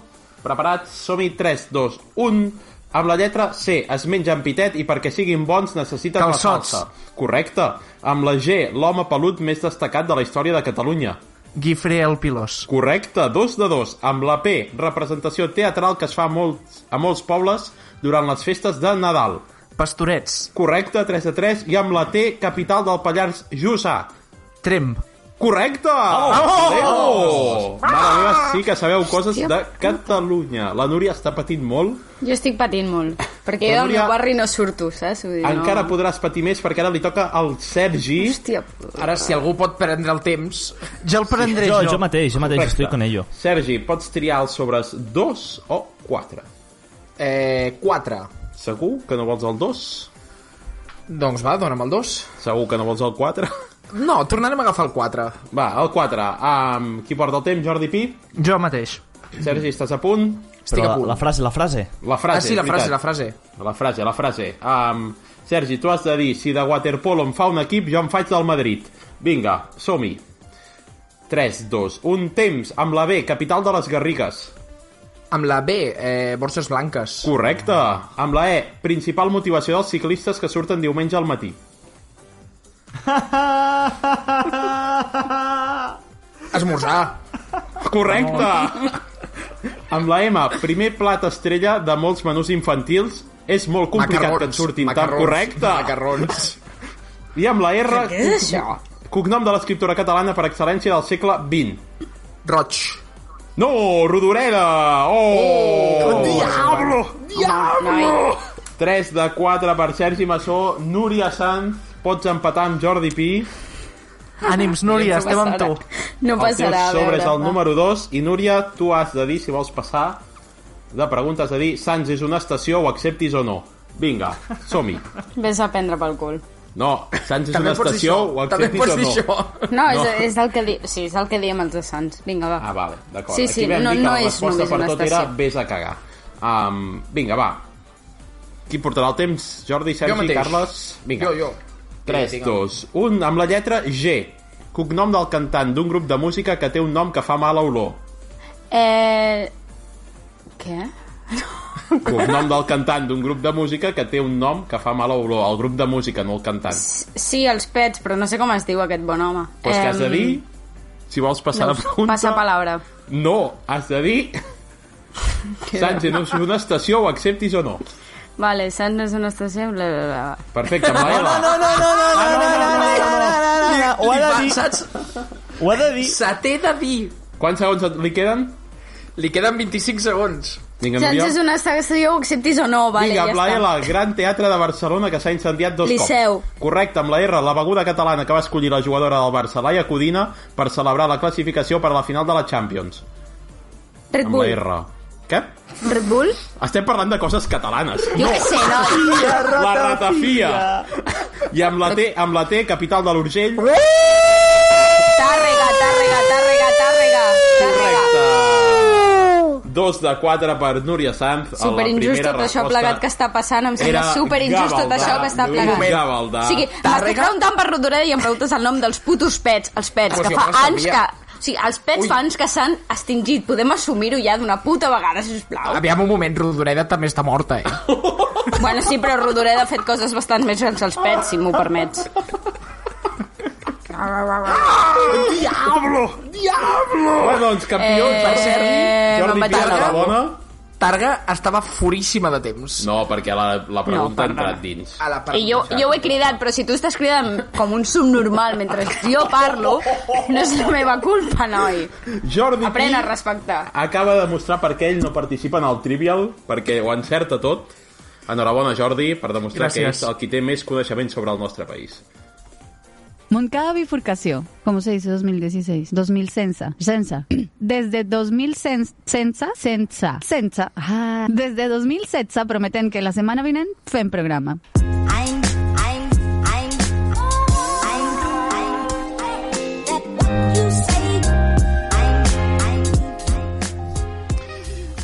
Speaker 3: preparats, som-hi, 3, 2, 1... Amb la lletra C, es mengen pitet i perquè siguin bons necessiten
Speaker 2: Calçots.
Speaker 3: la salsa. Correcte. Amb la G, l'home pelut més destacat de la història de Catalunya.
Speaker 2: Guifré el Pilós.
Speaker 3: Correcte, dos de dos. Amb la P, representació teatral que es fa a molts, a molts pobles durant les festes de Nadal.
Speaker 2: Pastorets.
Speaker 3: Correcte, 3 de 3. I amb la T, capital del Pallars Jussà.
Speaker 2: Tremp.
Speaker 5: Correcte!
Speaker 3: Oh! Mare meva, sí que sabeu coses de Catalunya. La Núria està patint molt.
Speaker 6: Jo estic patint molt, perquè jo
Speaker 3: Però
Speaker 6: del
Speaker 3: Núria-
Speaker 6: meu barri no surto, saps? Vull dir, no.
Speaker 3: Encara podràs patir més perquè ara li toca al Sergi.
Speaker 6: Hòstia,
Speaker 5: Ara, si algú pot prendre el temps...
Speaker 2: Ja el prendré
Speaker 4: Jo,
Speaker 2: jo.
Speaker 4: jo mateix, jo mateix,
Speaker 3: Correcte.
Speaker 4: estoy con ello.
Speaker 3: Sergi, pots triar els sobres 2 o 4.
Speaker 5: Eh, 4.
Speaker 3: Segur que no vols el 2?
Speaker 5: Doncs va, dona'm el 2.
Speaker 3: Segur que no vols el 4?
Speaker 5: No, tornarem a agafar el 4.
Speaker 3: Va, el 4. Um, qui porta el temps? Jordi Pi?
Speaker 2: Jo mateix.
Speaker 3: Sergi, estàs a punt?
Speaker 5: Estic
Speaker 4: Però
Speaker 5: a
Speaker 4: la,
Speaker 5: punt.
Speaker 4: la frase, la frase.
Speaker 3: La frase,
Speaker 5: ah, sí, la
Speaker 3: és
Speaker 5: frase,
Speaker 3: veritat.
Speaker 5: la frase.
Speaker 3: La frase, la frase. Um, Sergi, tu has de dir, si de waterpolo em fa un equip, jo em faig del Madrid. Vinga, som-hi. 3, 2, 1, temps, amb la B, capital de les Garrigues.
Speaker 5: Amb la B, eh, Borses Blanques.
Speaker 3: Correcte. Amb la E, principal motivació dels ciclistes que surten diumenge al matí.
Speaker 5: Esmorzar.
Speaker 3: Correcte. Amb la M, primer plat estrella de molts menús infantils, és molt complicat que en surtin tan
Speaker 5: macarrons,
Speaker 3: correcte.
Speaker 5: Macarrons.
Speaker 3: I amb la R,
Speaker 6: què és això?
Speaker 3: cognom de l'escriptora catalana per excel·lència del segle XX.
Speaker 5: Roig.
Speaker 3: No, Rodoreda! Oh!
Speaker 5: Diablo!
Speaker 3: 3 de 4 per Sergi Massó, Núria Sanz, pots empatar amb Jordi Pi,
Speaker 2: Ànims, Núria,
Speaker 6: No
Speaker 2: estem amb tu.
Speaker 6: passarà. No
Speaker 3: el teu
Speaker 6: passarà, a
Speaker 3: sobre
Speaker 6: veure.
Speaker 3: és el número 2, i Núria, tu has de dir si vols passar de preguntes, de dir Sants és una estació, ho acceptis o no. Vinga, som-hi.
Speaker 6: Vés a prendre pel cul.
Speaker 3: No, Sants és
Speaker 5: També
Speaker 3: una
Speaker 5: pots dir
Speaker 3: estació, ho
Speaker 5: això. També
Speaker 3: acceptis
Speaker 5: pots
Speaker 3: o
Speaker 5: dir
Speaker 3: no.
Speaker 5: això.
Speaker 6: No, és, és, el que di... sí, és el que diem els de Sants. Vinga, va.
Speaker 3: Ah, vale, d'acord.
Speaker 6: Sí, sí,
Speaker 3: Aquí vam
Speaker 6: no-
Speaker 3: dir que
Speaker 6: no
Speaker 3: la
Speaker 6: és
Speaker 3: resposta
Speaker 6: només
Speaker 3: per
Speaker 6: una
Speaker 3: tot era
Speaker 6: estació.
Speaker 3: vés a cagar. Um, vinga, va. Qui portarà el temps? Jordi,
Speaker 5: Jo
Speaker 3: Sergi,
Speaker 5: mateix.
Speaker 3: Carles? Vinga.
Speaker 5: Jo, jo.
Speaker 3: 3,
Speaker 5: Vinga,
Speaker 3: 2, 1, amb la lletra G. Cognom del cantant d'un grup de música que té un nom que fa mala olor.
Speaker 6: Eh... Què?
Speaker 3: Cognom del cantant d'un grup de música que té un nom que fa mala olor. El grup de música, no el cantant.
Speaker 6: Sí, els pets, però no sé com es diu aquest bon home.
Speaker 3: Pues que has de
Speaker 6: Em,
Speaker 3: dir... Si vols passar
Speaker 6: no,
Speaker 3: la pregunta...
Speaker 6: Passa palabra.
Speaker 3: No, has de dir... Sánchez, no és una estació, ho acceptis o no?
Speaker 6: Vale, Sants és una estació... Bla, bla, bla.
Speaker 3: Perfecte, amb la L.
Speaker 4: Ho ha de
Speaker 5: Va,
Speaker 4: dir,
Speaker 5: saps?
Speaker 4: ho ha de dir.
Speaker 5: Se t'he de dir.
Speaker 3: Quants segons et- li queden?
Speaker 5: Li queden 25 segons.
Speaker 3: Vinga,
Speaker 6: Sants és una estació, ho acceptis o no, vale,
Speaker 3: Vinga, amb
Speaker 6: ja
Speaker 3: la
Speaker 6: està.
Speaker 3: L, Gran Teatre de Barcelona, que s'ha incendiat dos
Speaker 6: Liceu.
Speaker 3: cops. Correcte, amb la R, la beguda catalana que va escollir la jugadora del Barça, Laia Codina, per celebrar la classificació per a la final de la Champions.
Speaker 6: Red
Speaker 3: Amb la
Speaker 6: Bull.
Speaker 3: R. Què?
Speaker 6: Red Bull?
Speaker 3: Estem parlant de coses catalanes.
Speaker 6: Jo què sé, no.
Speaker 3: La ratafia. I amb la T, amb la T capital de l'Urgell.
Speaker 6: Tàrrega, Tàrrega, Tàrrega, Tàrrega. Tàrrega.
Speaker 3: Correcte. Dos de quatre per Núria Sanz. a la
Speaker 6: Superinjust
Speaker 3: primera
Speaker 6: tot això
Speaker 3: resposta.
Speaker 6: plegat que està passant, em sembla
Speaker 3: era
Speaker 6: superinjust tot
Speaker 3: Gavaldà,
Speaker 6: això que està
Speaker 3: Lluís
Speaker 6: plegat.
Speaker 3: Gavaldà.
Speaker 6: O sigui, m'estic preguntant per Rodoreda i em preguntes el nom dels putos pets, els pets,
Speaker 5: Pues
Speaker 6: que
Speaker 5: jo
Speaker 6: fa
Speaker 5: no sabia.
Speaker 6: anys que... O sigui, els pets
Speaker 5: Ui.
Speaker 6: fa anys que s'han extingit. Podem assumir-ho ja d'una puta vegada,
Speaker 3: Ah.
Speaker 6: sisplau.
Speaker 5: Aviam un moment, Rodoreda també està morta, eh?
Speaker 6: Bueno, sí, però Rodoreda ha fet coses bastant més grans als pets, si m'ho permets.
Speaker 3: Bueno, doncs, campions,
Speaker 6: Eh,
Speaker 3: per cert, Jordi
Speaker 6: m'han
Speaker 3: Pia,
Speaker 6: petat,
Speaker 3: la
Speaker 6: no?
Speaker 3: bona.
Speaker 5: Targa estava furíssima de temps.
Speaker 3: No, perquè la, la pregunta ha
Speaker 6: perdona.
Speaker 3: entrat dins.
Speaker 5: A la part
Speaker 6: I jo, jo ho he cridat, però si tu estàs cridant com un subnormal mentre jo parlo, no és la meva culpa, noi.
Speaker 3: Jordi
Speaker 6: Aprèn a
Speaker 3: Pi
Speaker 6: respectar.
Speaker 3: acaba de mostrar per què ell no participa en el Trivial, perquè ho encerta tot. Enhorabona, Jordi, per demostrar que
Speaker 2: Gràcies.
Speaker 3: ets el qui té més coneixement sobre el nostre país.
Speaker 8: Moncada bifurcación, como se dice 2016, 2000 censa, censa. Desde 2000 cen- censa, censa, censa. Ah, Desde 2000 censa prometen que la semana vienen fem programa.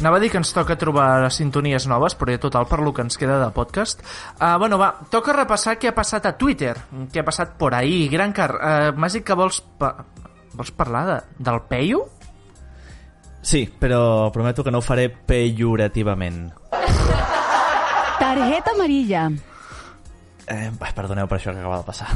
Speaker 2: Anava a dir que ens toca trobar sintonies noves, però ja total per lo que ens queda de podcast. Uh, bueno, va, toca repassar què ha passat a Twitter, què ha passat por ahí. Gran Car, uh, m'has dit que vols, pa vols parlar de, del Peyu?
Speaker 4: Sí, però prometo que no ho faré pejorativament.
Speaker 8: Tarjeta amarilla.
Speaker 4: Eh, ai, perdoneu per això que acaba de passar.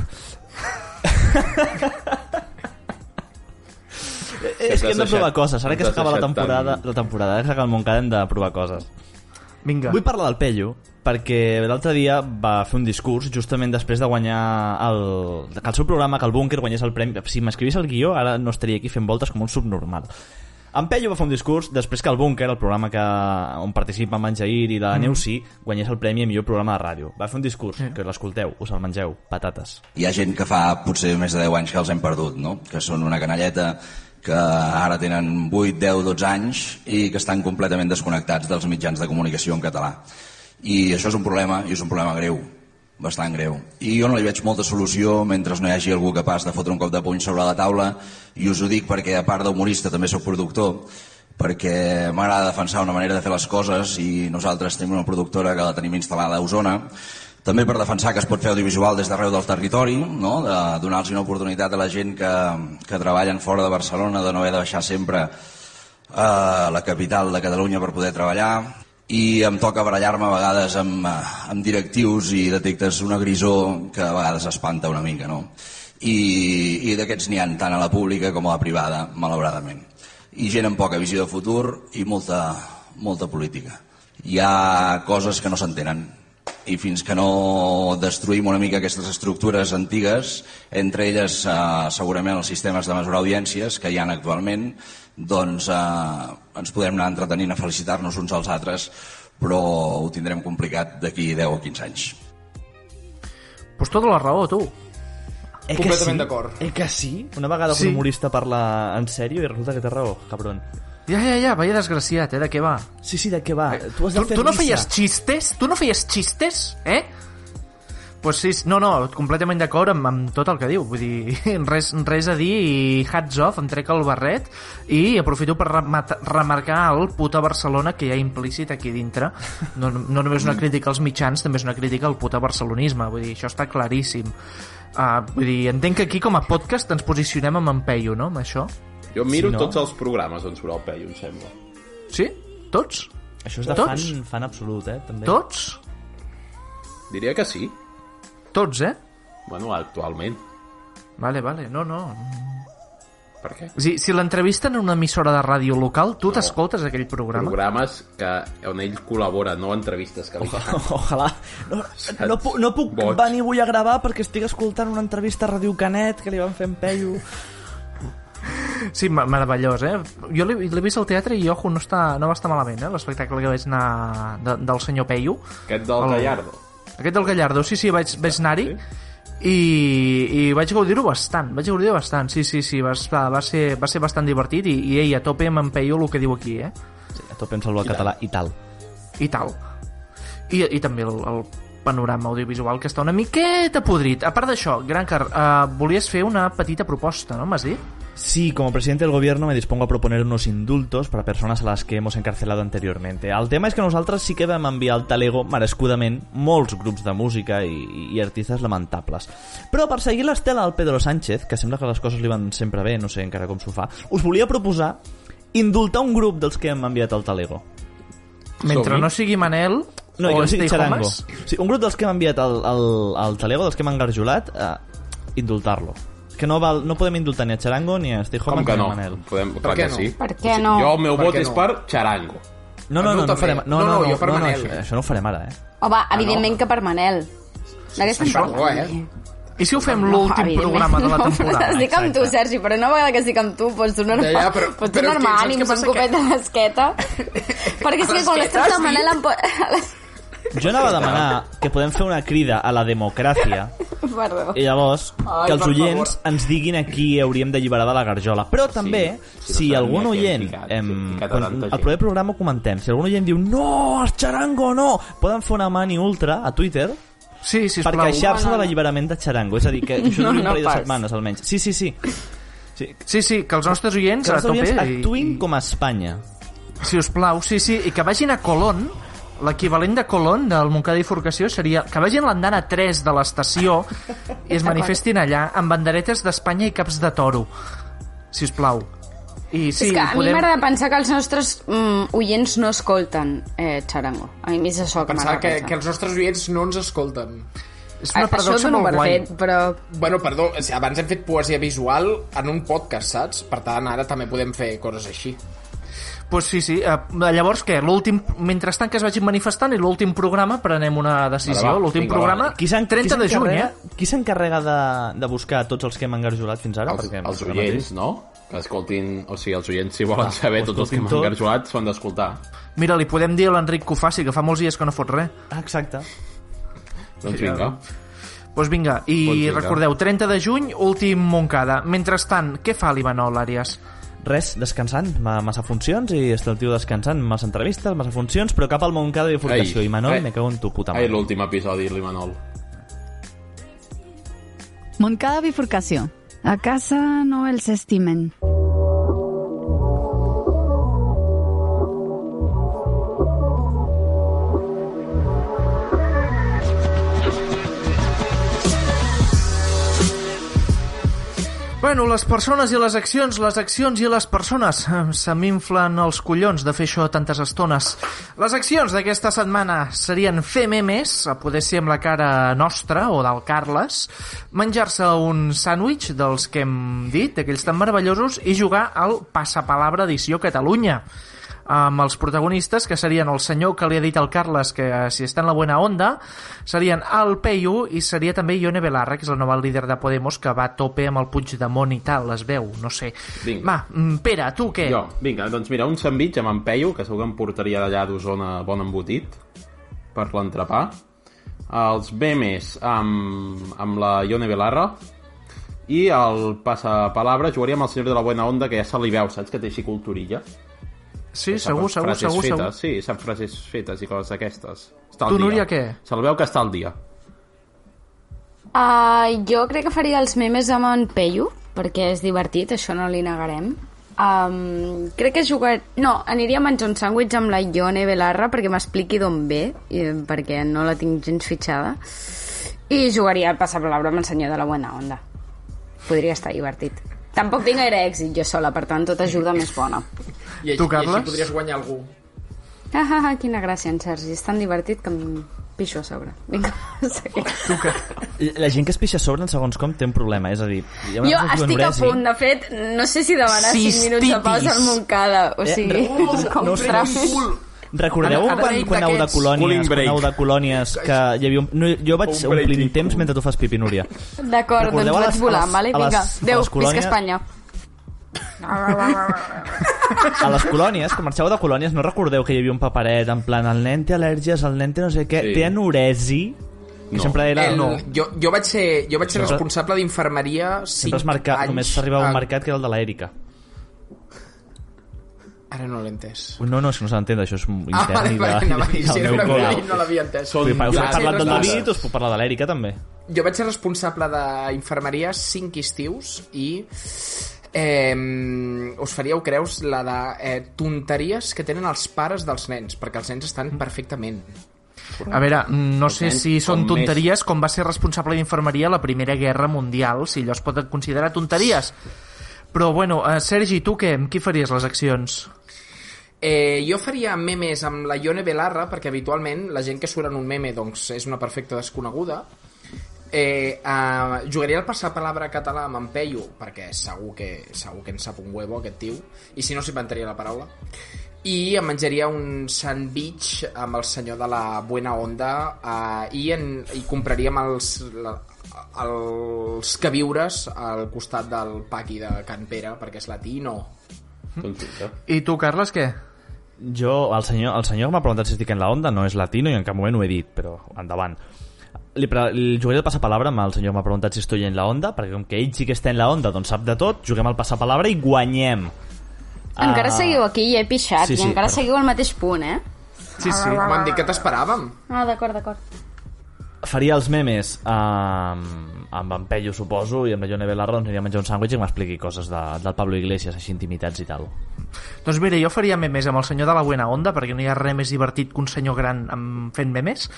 Speaker 4: Eh, és que hem de
Speaker 3: deixat-
Speaker 4: provar coses. Ara que
Speaker 3: ens has
Speaker 4: s'acaba la
Speaker 3: deixat
Speaker 4: temporada,
Speaker 3: tan-
Speaker 4: la temporada, ara que s'acaba el Montcada hem de provar coses.
Speaker 2: Vinga.
Speaker 4: Vull parlar del Pello perquè l'altre dia va fer un discurs justament després de guanyar el, que el seu programa, que el Búnker guanyés el premi. Si m'escrivís el guió, ara no estaria aquí fent voltes com un subnormal. En Pello va fer un discurs després que el Búnker, el programa que, on participa en Manjair i la mm. Neusí, guanyés el premi a millor programa de ràdio. Va fer un discurs, que l'escolteu, us el mengeu, patates.
Speaker 9: Hi ha gent que fa potser més de 10 anys que els hem perdut, no? que són una canalleta que ara tenen 8, 10, 12 anys i que estan completament desconnectats dels mitjans de comunicació en català. I això és un problema, i és un problema greu, bastant greu. I jo no li veig molta solució mentre no hi hagi algú capaç de fotre un cop de puny sobre la taula, i us ho dic perquè a part d'humorista també sóc productor, perquè m'agrada defensar una manera de fer les coses i nosaltres tenim una productora que la tenim instal·lada a Osona, també per defensar que es pot fer audiovisual des d'arreu del territori, no? de donar-los una oportunitat a la gent que, que treballen fora de Barcelona, de no haver de baixar sempre eh, a la capital de Catalunya per poder treballar i em toca barallar-me a vegades amb, eh, amb directius i detectes una grisó que a vegades espanta una mica, no? I, i d'aquests n'hi han tant a la pública com a la privada, malauradament. I gent amb poca visió de futur i molta, molta política. Hi ha coses que no s'entenen i fins que no destruïm una mica aquestes estructures antigues, entre elles eh, segurament els sistemes de mesurar audiències que hi han actualment, doncs eh, ens podem anar entretenint a felicitar-nos uns als altres, però ho tindrem complicat d'aquí 10 o 15 anys.
Speaker 2: Pues tota la raó, tu.
Speaker 4: Eh que
Speaker 5: Completament
Speaker 4: sí?
Speaker 5: d'acord.
Speaker 4: Eh que sí? Una vegada sí.
Speaker 2: Sí.
Speaker 4: un humorista parla en sèrio i resulta que té raó, cabron.
Speaker 2: Ja, ja, ja, vaya desgraciat, eh? De què va?
Speaker 4: Sí, sí, de què va? Tu has de
Speaker 2: Tu,
Speaker 4: fer
Speaker 2: tu no
Speaker 4: risa.
Speaker 2: feies xistes? Tu no feies xistes? Eh? Pues sí, no, no, completament d'acord amb, amb tot el que diu. Vull dir, res, res a dir i hats off, em trec el barret i aprofito per remata- remarcar el puta Barcelona que hi ha implícit aquí dintre. No, no només una crítica als mitjans, també és una crítica al puta barcelonisme. Vull dir, això està claríssim. Uh, vull dir, entenc que aquí com a podcast ens posicionem amb en Peyu, no?, amb això.
Speaker 3: Jo miro
Speaker 4: Si no-
Speaker 3: no? tots els programes on surt el Peyu, em sembla.
Speaker 2: Sí? Tots?
Speaker 4: Això és de
Speaker 2: Tots?
Speaker 4: fan, fan absolut, eh? També.
Speaker 2: Tots?
Speaker 3: Diria que sí.
Speaker 2: Tots, eh?
Speaker 3: Bueno, actualment.
Speaker 2: Vale, vale, no, no,
Speaker 3: Per què?
Speaker 2: Si, si l'entrevisten en una emissora de ràdio local, tu t'escoltes aquell programa?
Speaker 3: Programes que, on ell col·labora, no entrevistes que li fan.
Speaker 7: Ojalà. No, no, puc, no puc
Speaker 3: Boig.
Speaker 7: venir avui a gravar perquè estic escoltant una entrevista a Radio Canet que li van fer en Peyu.
Speaker 2: Sí, ma- meravellós, eh? Jo l'he l'he vist al teatre i, ojo, no, està, no va estar malament, eh? L'espectacle que vaig anar de, del senyor Peyu.
Speaker 3: Aquest del
Speaker 2: El-
Speaker 3: Gallardo. Ah,
Speaker 2: Aquest del Gallardo, sí, sí, vaig, vaig anar-hi. I, i vaig gaudir-ho bastant, vaig gaudir bastant, sí, sí, sí, va, estar, va, ser, va ser bastant divertit i, i ei, a tope amb en Peyu el que diu aquí, eh?
Speaker 4: A tope em salva el català i tal.
Speaker 2: i tal. I, i també el, el panorama audiovisual que està una miqueta podrit. A part d'això, Grancar, eh, volies fer una petita proposta, no m'has dit?
Speaker 4: Sí, como presidente del gobierno me dispongo a proponer unos indultos para personas a las que hemos encarcelado anteriormente. El tema és que nosaltres sí que vam enviar al talego merescudament molts grups de música i, i artistes lamentables. Però per seguir l'estela al Pedro Sánchez, que sembla que les coses li van sempre bé, no sé encara com s'ho fa, us volia proposar indultar un grup dels que hem enviat al talego.
Speaker 2: Mentre
Speaker 3: Som-hi.
Speaker 2: no sigui Manel
Speaker 4: No,
Speaker 2: o
Speaker 4: jo sí,
Speaker 2: Stay
Speaker 4: xarango.
Speaker 2: Homes,
Speaker 4: Sí, un grup dels que hem enviat al, al, al talego, dels que hem engarjolat, a indultar-lo. És Que no, val, no podem indultar ni a Charango ni a Stay
Speaker 3: Com
Speaker 4: Home
Speaker 3: que
Speaker 4: ni a
Speaker 3: no?
Speaker 4: Manel.
Speaker 3: Podem, clar
Speaker 5: què
Speaker 3: que
Speaker 5: no?
Speaker 3: sí.
Speaker 6: Per què no?
Speaker 3: Jo el meu
Speaker 5: Per
Speaker 3: vot
Speaker 5: què
Speaker 3: és
Speaker 5: no?
Speaker 3: per Charango.
Speaker 4: No, no,
Speaker 5: A mi
Speaker 4: no,
Speaker 5: ho
Speaker 4: no,
Speaker 5: farem.
Speaker 4: farem. No,
Speaker 5: No,
Speaker 4: no,
Speaker 5: no,
Speaker 4: no,
Speaker 5: jo per
Speaker 4: no, no,
Speaker 5: Manel.
Speaker 4: això, això no ho farem ara, eh?
Speaker 6: Home, evidentment que per Manel. D'aquesta en
Speaker 5: Ah, Això no,
Speaker 6: parlant,
Speaker 5: eh?
Speaker 2: I si ho fem l'últim
Speaker 6: Ah, evidentment,
Speaker 2: programa de la
Speaker 6: no,
Speaker 2: temporada?
Speaker 6: Estic amb tu, Sergi, però una vegada que estic amb tu pots donar
Speaker 5: Ja, ja, però-
Speaker 6: pots
Speaker 5: però
Speaker 6: donar
Speaker 5: és que saps
Speaker 6: ànims,
Speaker 5: què
Speaker 6: un
Speaker 5: passa?
Speaker 6: copet
Speaker 5: Que-
Speaker 6: a l'esqueta. Perquè és que
Speaker 5: l'esqueta,
Speaker 6: quan l'estat de
Speaker 5: sí.
Speaker 6: Manel em pot...
Speaker 4: Jo anava a demanar que podem fer una crida a la democràcia
Speaker 6: Perdó.
Speaker 4: i llavors
Speaker 5: Ai,
Speaker 4: que els
Speaker 5: per
Speaker 4: oients ens diguin a qui hauríem d'alliberar de la garjola. Però també,
Speaker 3: si no
Speaker 4: si
Speaker 3: sabia
Speaker 4: algun
Speaker 3: que hem
Speaker 4: oient...
Speaker 3: ficat-
Speaker 4: Em,
Speaker 3: hem ficat a
Speaker 4: quan,
Speaker 3: tanta
Speaker 4: el
Speaker 3: gent.
Speaker 4: proper programa ho comentem. Si algun oient diu no, el xarango no, poden fer una mani ultra a Twitter
Speaker 2: Sí,
Speaker 4: per
Speaker 2: sisplau.
Speaker 4: queixar-se
Speaker 6: No,
Speaker 4: de
Speaker 6: no, no.
Speaker 4: l'alliberament de xarango. És a dir, que això
Speaker 6: No,
Speaker 4: duri un
Speaker 6: no
Speaker 4: parell de
Speaker 6: pas.
Speaker 4: setmanes almenys. Sí, sí, sí.
Speaker 2: Sí, sí, que els nostres oients
Speaker 4: Que els
Speaker 2: a tope...
Speaker 4: oients
Speaker 2: i-
Speaker 4: actuïn com a Espanya.
Speaker 2: Si us plau, sí, sí, i que vagin a Colón, l'equivalent de Colón del Montcada i Forcació seria que vagin a l'andana 3 de l'estació i es manifestin allà amb banderetes d'Espanya i caps de toro. Si us plau. I sí,
Speaker 6: és que a mi
Speaker 2: podem...
Speaker 6: m'agrada pensar que els nostres mm, oients no escolten eh, Charango. A mi és això que
Speaker 5: Pensar
Speaker 6: m'agrada
Speaker 5: que,
Speaker 6: pensar.
Speaker 5: que els nostres oients no ens escolten.
Speaker 2: És una
Speaker 6: això ho
Speaker 2: paradoxa
Speaker 6: dono
Speaker 2: molt
Speaker 6: per
Speaker 2: guai.
Speaker 6: fet, però...
Speaker 5: Bueno, perdó, o sigui, abans hem fet poesia visual en un podcast, saps? Per tant, ara també podem fer coses així.
Speaker 2: pues sí, sí. Uh, llavors, què? L'últim... Mentrestant que es vagin manifestant i l'últim programa prenem una
Speaker 3: Ara
Speaker 2: decisió.
Speaker 3: va,
Speaker 2: L'últim
Speaker 3: vinga,
Speaker 2: programa,
Speaker 6: Ah,
Speaker 3: va.
Speaker 4: Qui s'en-
Speaker 2: 30
Speaker 4: qui
Speaker 2: de juny,
Speaker 4: s'encarrega-
Speaker 2: eh?
Speaker 4: Qui s'encarrega de, de buscar tots els que hem engarjolat fins ara?
Speaker 3: Els,
Speaker 4: Perquè
Speaker 3: els
Speaker 4: ara
Speaker 3: oients, no? Que escoltin... O sigui, els oients, si volen saber
Speaker 4: ho
Speaker 3: tots els que
Speaker 4: escoltin
Speaker 3: m'han
Speaker 4: tot.
Speaker 3: engarjolat, s'ho han d'escoltar.
Speaker 2: Mira, li podem dir a l'Enric que ho faci, que fa molts dies que no fot res.
Speaker 4: mateix- Ah, Exacte.
Speaker 3: Doncs vinga.
Speaker 2: Doncs vinga, i
Speaker 3: Doncs vinga.
Speaker 2: recordeu, 30 de juny, últim Montcada. Mentrestant, què fa l'Ivanol, Àries?
Speaker 4: Res, descansant, ma- massa funcions i està el tio descansant, massa entrevistes, massa funcions, però cap al Montcada de Forcació.
Speaker 3: Ai,
Speaker 4: I Manol,
Speaker 3: ai.
Speaker 4: me cago en tu puta
Speaker 3: Ai,
Speaker 4: mare.
Speaker 3: l'últim episodi, l'Imanol.
Speaker 8: Montcada bifurcació. A casa no els estimen.
Speaker 2: Bueno, les persones i les accions, les accions i les persones. Em- Se m'inflen els collons de fer això tantes estones. Les accions d'aquesta setmana serien fer memes, a poder ser amb la cara nostra o del Carles, menjar-se un sàndwich dels que hem dit, aquells tan meravellosos, i jugar al Passapalabra Edició Catalunya amb els protagonistes, que serien el senyor que li ha dit al Carles que eh, si està en la buena onda, serien el Peyu i seria també Ione Belarra, que és la nova líder de Podemos, que va a tope amb el Puigdemont i tal, es veu, no sé.
Speaker 3: Vinga.
Speaker 2: Va, mm, Pere, tu què?
Speaker 3: Jo, vinga, doncs mira, un sandvitx amb en Peyu, que segur que em portaria d'allà d'Osona bon embotit, per l'entrepà. Els memes amb, amb la Ione Belarra. I el passapalabra jugaria amb el senyor de la Buena Onda, que ja se li veu, saps? Que té així culturilla.
Speaker 2: Sí,
Speaker 3: Sap
Speaker 2: segur, segur,
Speaker 3: frases
Speaker 2: segur, segur.
Speaker 3: fetes, Sí, sap frases fetes i coses d'aquestes. Està al
Speaker 2: Tu,
Speaker 3: dia.
Speaker 2: Núria, què?
Speaker 3: Se'l veu que està al dia.
Speaker 6: Uh, jo crec que faria els memes amb en Peyu, perquè és divertit, això no li negarem. Um, crec que jugar... No, aniria a menjar un sàndwich amb la Ione Belarra perquè m'expliqui d'on ve, i, perquè no la tinc gens fitxada. I jugaria al passapalabra amb el senyor de la Buena Onda. Podria estar divertit. Tampoc tinc gaire èxit jo sola, per tant, tota ajuda més bona.
Speaker 2: Tu,
Speaker 5: I, així- I
Speaker 2: Carles?
Speaker 5: així podries guanyar algú.
Speaker 6: Ah, ah, ah, quina gràcia, en Sergi. És tan divertit que em pixo a sobre. Vinga, segueix.
Speaker 4: La gent que es pixa a sobre en segons com té un problema, és a dir... hi ha una
Speaker 6: Jo
Speaker 4: cosa que diuen
Speaker 6: estic a
Speaker 4: Bresi.
Speaker 6: punt, de fet, no sé si demanar 5 minuts de pausa al
Speaker 2: Cistitis.
Speaker 6: Montcada, o sigui,
Speaker 4: Eh, re-
Speaker 6: com
Speaker 4: no
Speaker 6: no
Speaker 4: sé.
Speaker 6: tràfic.
Speaker 4: Recordeu
Speaker 2: Ara- ara
Speaker 4: quan,
Speaker 2: break
Speaker 4: quan aneu de
Speaker 2: d'aquests.
Speaker 4: colònies,
Speaker 3: Cooling
Speaker 4: quan aneu
Speaker 3: break.
Speaker 4: de colònies que hi havia un... No, jo vaig
Speaker 3: Un break
Speaker 4: omplint
Speaker 3: i-
Speaker 4: temps mentre tu fas pipi, Núria.
Speaker 6: D'acord,
Speaker 4: Recordeu
Speaker 6: doncs
Speaker 4: a les-
Speaker 6: vaig volant,
Speaker 4: a les- a les-
Speaker 6: vale? Vinga,
Speaker 4: a les
Speaker 6: adeu, visca
Speaker 4: colònies-
Speaker 6: Espanya.
Speaker 4: A les colònies, quan marxeu de colònies, no recordeu que hi havia un paperet en plan el nen té al·lèrgies, el nen té no sé què,
Speaker 3: Sí.
Speaker 4: té anoresi, que
Speaker 3: No.
Speaker 4: sempre era...
Speaker 5: El,
Speaker 4: no.
Speaker 5: jo, jo vaig ser, jo vaig ser
Speaker 4: Sempre-
Speaker 5: responsable d'infermeria 5
Speaker 4: Sempre es marca,
Speaker 5: anys.
Speaker 4: només s'arriba a
Speaker 5: Ah,
Speaker 4: un mercat que era el de l'Èrica.
Speaker 5: Ara no l'he entès.
Speaker 4: No, no, és que no s'ha d'entendre, això és intern
Speaker 5: Ah, vale,
Speaker 4: i de,
Speaker 5: vale, anava a dir, si
Speaker 4: del
Speaker 5: era
Speaker 4: meu
Speaker 5: una
Speaker 4: col·le.
Speaker 5: no l'havia entès.
Speaker 3: Són-
Speaker 4: Vull dir, us
Speaker 5: Ja,
Speaker 4: he parlat
Speaker 5: sí,
Speaker 4: del
Speaker 5: no és
Speaker 4: David,
Speaker 5: massa.
Speaker 4: us puc parlar de l'Èrica, també.
Speaker 5: Jo vaig ser responsable d'infermeria 5 estius i eh, us faríeu creus la de eh, tonteries que tenen els pares dels nens, perquè els nens estan perfectament.
Speaker 2: A veure, no sé
Speaker 3: nens,
Speaker 2: si són
Speaker 3: com
Speaker 2: tonteries, com va ser responsable d'infermeria a la Primera Guerra Mundial, si allò es pot considerar tonteries. Però, bueno, eh, Sergi, tu què? Amb qui faries les accions?
Speaker 5: Eh, jo faria memes amb la Ione Belarra perquè habitualment la gent que surt en un meme doncs, és una perfecta desconeguda eh, eh, jugaria al passapalabra català amb en Peyu perquè segur que, segur que en sap un huevo aquest tio i si no s'inventaria la paraula i em menjaria un sandwich amb el senyor de la Buena Onda eh, i, en, i compraríem els, la, els que viures al costat del paqui de Can Pere perquè és latino
Speaker 3: Doncs vinga.
Speaker 2: I tu, Carles, què?
Speaker 4: Jo, el senyor, el senyor que m'ha preguntat si estic en la onda no és latino i en cap moment ho he dit, però endavant. Li, pre- li jugaré el passapalabra amb el senyor que m'ha preguntat si estoy en la onda, perquè com que ell sí que està en la onda, doncs sap de tot, juguem al passapalabra i guanyem.
Speaker 6: Encara
Speaker 4: Ah,
Speaker 6: seguiu aquí i he pixat,
Speaker 4: Sí,
Speaker 6: i
Speaker 4: sí,
Speaker 6: encara
Speaker 4: per-
Speaker 6: seguiu al mateix punt, eh?
Speaker 2: Sí, sí.
Speaker 5: m'han dit que t'esperàvem
Speaker 6: Ah, d'acord, d'acord.
Speaker 4: Faria els memes amb, amb en Pello, suposo, i amb la Ione Belarra doncs aniria a menjar un sàndwich i m'expliqui coses de, del Pablo Iglesias, així intimitats i tal.
Speaker 2: Doncs mira, jo faria memes amb el senyor de la Buena Onda, perquè no hi ha res més divertit que un senyor gran amb fent memes.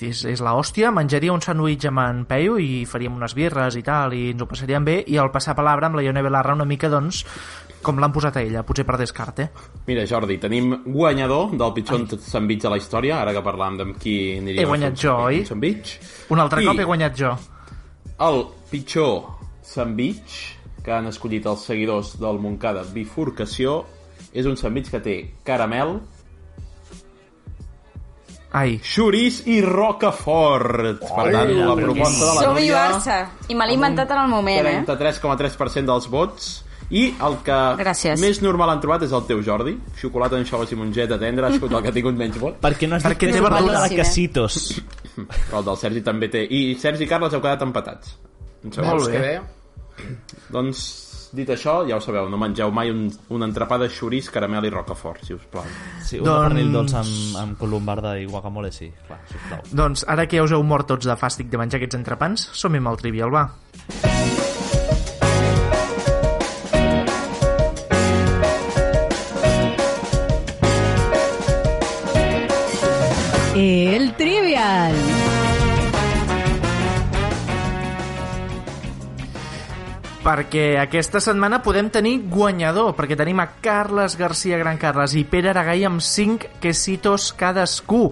Speaker 2: És, és la hòstia, menjaria un sandwich amb en Peyu i faríem unes birres i tal, i ens ho passaríem bé, i al passar palabra amb la Ione Belarra una mica, doncs, com l'han posat a ella, potser per descart, eh?
Speaker 3: Mira, Jordi, tenim guanyador del pitjor sandvitx de la història, ara que parlàvem d'amb qui aniria
Speaker 2: He guanyat jo, oi?
Speaker 3: Sandvitx.
Speaker 2: Un altre
Speaker 3: I
Speaker 2: cop he guanyat jo.
Speaker 3: el pitjor sandvitx que han escollit els seguidors del Montcada Bifurcació és un sandvitx que té caramel,
Speaker 2: Ai,
Speaker 3: xurís i rocafort. Per tant, la proposta de la
Speaker 6: Som i
Speaker 3: Núria,
Speaker 6: Barça. I me l'he inventat en el moment, eh?
Speaker 3: 33,3% dels vots. I el que
Speaker 6: Gràcies.
Speaker 3: més normal han trobat és el teu, Jordi. Xocolata, anxoves i mongeta tendra, ha sigut el que ha tingut menys vots.
Speaker 4: Perquè no has
Speaker 2: Perquè
Speaker 4: dit
Speaker 2: té
Speaker 4: que era
Speaker 2: verdura.
Speaker 4: de la
Speaker 6: Sí, eh?
Speaker 4: Casitos.
Speaker 3: Però el del Sergi també té. I Sergi i Carles heu quedat empatats. Em sembla.
Speaker 5: Veus que bé?
Speaker 3: Doncs, dit això, ja ho sabeu, no mengeu mai un, un entrepà de xurís, caramel i rocafort, si us plau.
Speaker 4: Sí, un
Speaker 2: Doncs-
Speaker 4: doncs... pernil dolç amb, amb colombarda i guacamole, sí. Clar, sisplau.
Speaker 2: doncs ara que ja us heu mort tots de fàstic de menjar aquests entrepans, som-hi amb el Trivial, va.
Speaker 8: El Trivial.
Speaker 2: Perquè aquesta setmana podem tenir guanyador, perquè tenim a Carles García Gran Carles i Pere Aragai amb 5 quesitos cadascú.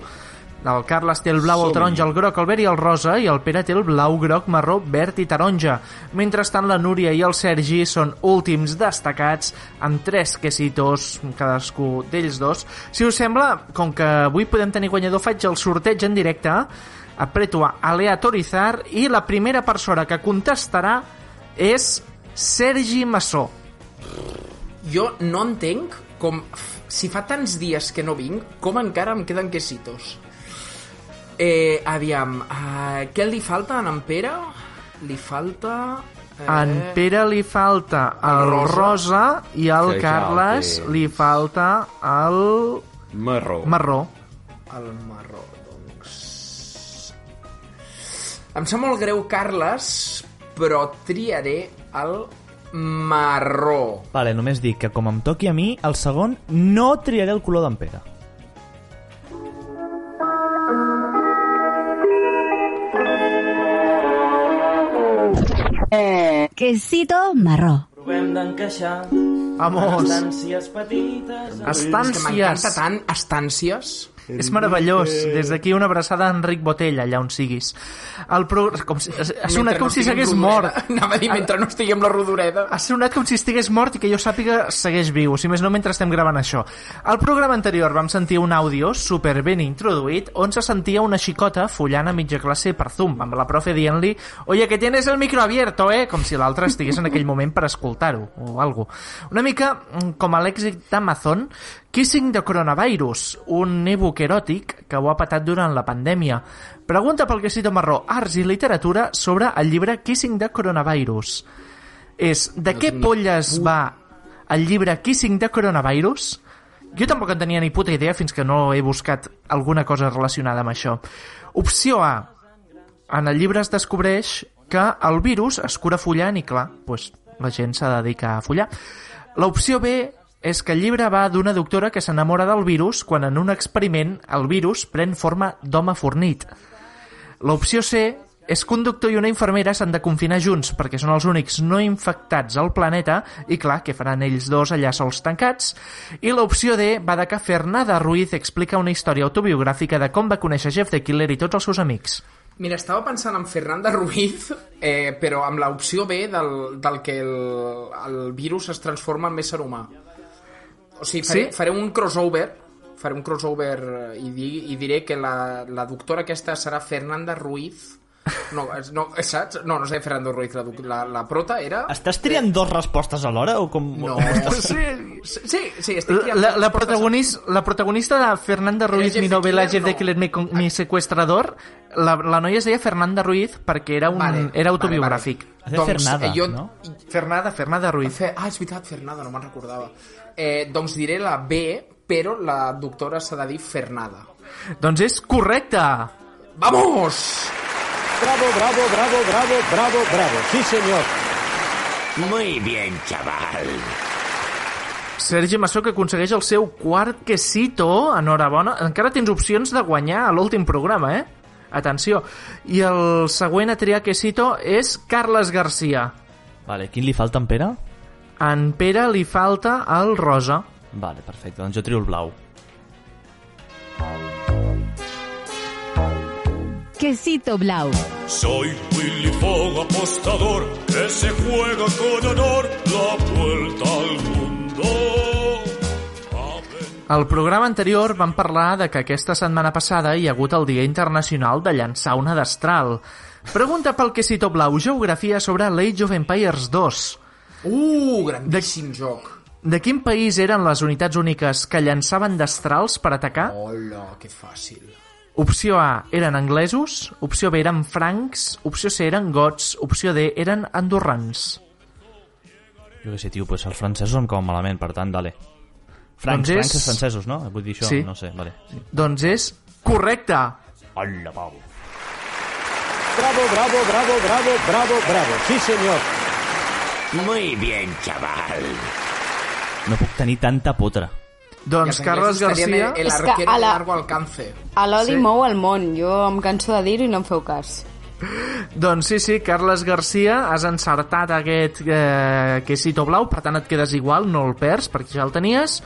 Speaker 2: El Carles té el blau, el taronja, el groc, el verd i el rosa, i el Pere té el blau, groc, marró, verd i taronja. Mentrestant, la Núria i el Sergi són últims destacats amb tres quesitos, cadascú d'ells dos. Si us sembla, com que avui podem tenir guanyador, faig el sorteig en directe, apreto a aleatorizar, i la primera persona que contestarà és Sergi Massó.
Speaker 5: Jo no entenc com... Si fa tants dies que no vinc, com encara em queden quesitos? Eh, aviam, eh, què li falta a en Pere? Li falta... Eh,
Speaker 2: A en Pere li falta el
Speaker 5: Rosa.
Speaker 2: rosa i al
Speaker 3: Sí, clar,
Speaker 2: Carles
Speaker 3: sí.
Speaker 2: li falta el
Speaker 3: Marró.
Speaker 2: marró.
Speaker 5: El marró, doncs... Em sap molt greu, Carles, però triaré el marró.
Speaker 4: Vale, només dic que com em toqui a mi, el segon no triaré el color d'en Pere.
Speaker 8: Quesito marró.
Speaker 7: Provem d'encaixar
Speaker 2: Vamos,
Speaker 7: distàncies petites...
Speaker 5: És que m'encanta
Speaker 2: estàncies.
Speaker 5: tant estàncies.
Speaker 2: És meravellós. Des d'aquí una abraçada a Enric Botella, allà on siguis. El pro... com si... Ha sonat
Speaker 5: Mentre
Speaker 2: com si
Speaker 5: estigui
Speaker 2: s'hagués
Speaker 5: amb
Speaker 2: mort.
Speaker 5: rodoreda. Anava a dir, mentre no estigui amb la rodoreda.
Speaker 2: Ha sonat com si estigués mort i que jo sàpiga segueix viu, si més no mentre estem gravant això. Al programa anterior vam sentir un àudio super ben introduït on se sentia una xicota follant a mitja classe per Zoom, amb la profe dient-li «Oye, que tienes el micro abierto, eh?», com si l'altre estigués en aquell moment per escoltar-ho o alguna Una mica mm, com a l'èxit d'Amazon, Kissing the Coronavirus, un e-book eròtic que ho ha patat durant la pandèmia. Pregunta pel Quesito Marró, Arts i Literatura sobre el llibre Kissing the Coronavirus és de què polles va el llibre Kissing the Coronavirus? Jo tampoc en tenia ni puta idea fins que no he buscat alguna cosa relacionada amb això. Opció A. En el llibre es descobreix que el virus es cura follant i, clar, doncs, la gent s'ha de dedicar a follar. L'opció B és que el llibre va d'una doctora que s'enamora del virus quan en un experiment el virus pren forma d'home fornit. L'opció C és que un doctor i una infermera s'han de confinar junts perquè són els únics no infectats al planeta i clar, que faran ells dos allà sols tancats. I l'opció D va de que Fernanda Ruiz explica una història autobiogràfica de com va conèixer Jeff the Killer i tots els seus amics.
Speaker 5: Mira, estava pensant en Fernanda Ruiz, eh, però amb l'opció B del, del que el, el virus es transforma en ésser humà. O sigui, faré,
Speaker 2: Sí?
Speaker 5: sí? faré un crossover faré un crossover eh, i, di, i diré que la, la doctora aquesta serà Fernanda Ruiz no, es- no, eh, saps? No, no sé Fernando Ruiz, la, doc- la, la prota era...
Speaker 4: Estàs triant dos respostes alhora o com...
Speaker 5: No, sí, sí, sí estic
Speaker 2: La,
Speaker 5: triant
Speaker 2: la, la,
Speaker 5: respostes.
Speaker 2: protagonista, la protagonista de Fernanda Ruiz,
Speaker 5: Jeff
Speaker 2: mi
Speaker 5: the
Speaker 2: novela
Speaker 5: Killer,
Speaker 2: Jeff the
Speaker 5: no. Ah.
Speaker 2: Killer, mi, con- mi secuestrador, la, la noia es deia Fernanda Ruiz perquè era, un,
Speaker 5: Vale,
Speaker 2: era
Speaker 5: vale,
Speaker 2: autobiogràfic. Vale,
Speaker 4: Has de Fernada,
Speaker 5: eh, jo,
Speaker 4: no?
Speaker 2: vale. Fernanda, Fernanda Ruiz.
Speaker 5: Fe... Ah, és veritat, Fernanda, no me'n recordava. Eh, doncs diré la B, però la doctora s'ha de dir Fernada.
Speaker 2: Doncs és correcte!
Speaker 5: Vamos!
Speaker 10: Bravo, bravo, bravo, bravo, bravo, bravo. Sí, señor.
Speaker 11: Muy bien, chaval.
Speaker 2: Sergi Massó que aconsegueix el seu quart quesito, enhorabona. Encara tens opcions de guanyar a l'últim programa, eh? Atenció. I el següent a triar quesito és Carles Garcia.
Speaker 4: Vale, quin li falta en Pere?
Speaker 2: A en Pere li falta el rosa.
Speaker 4: Vale, perfecte, doncs jo trio el blau.
Speaker 8: Quesito blau.
Speaker 11: Soy Willy Fogg, apostador, que se juega con honor la vuelta al mundo.
Speaker 2: Al programa anterior vam parlar de que aquesta setmana passada hi ha hagut el Dia Internacional de llançar una destral. Pregunta pel que Quesito Blau, geografia sobre l'Age of Empires 2.
Speaker 5: Uh, grandíssim de... joc.
Speaker 2: De quin país eren les unitats úniques que llançaven destrals per atacar?
Speaker 5: Hola, que fàcil.
Speaker 2: Opció A eren anglesos, opció B eren francs, opció C eren gots, opció D eren andorrans.
Speaker 4: Jo què sé, tio, pues els francesos em cau malament, per tant, dale. Francs,
Speaker 2: Doncs és-
Speaker 4: francs és francesos, no? Vull dir això,
Speaker 2: Sí.
Speaker 4: no sé, vale. Sí.
Speaker 2: Doncs és correcte!
Speaker 4: Hola, Pau.
Speaker 10: Bravo, bravo, bravo, bravo, bravo, bravo. Sí, senyor.
Speaker 11: Muy bien, chaval.
Speaker 4: No puc tenir tanta potra.
Speaker 2: Doncs Carles Garcia...
Speaker 5: El
Speaker 6: És que
Speaker 5: arquero
Speaker 6: a
Speaker 5: de
Speaker 6: la-
Speaker 5: largo alcance.
Speaker 6: A l'odi
Speaker 2: Sí.
Speaker 6: sí. mou el món, jo em canso de dir-ho i no em feu cas.
Speaker 2: Doncs sí, sí, Carles Garcia, has encertat aquest eh, quesito blau, per tant et quedes igual, no el perds, perquè ja el tenies.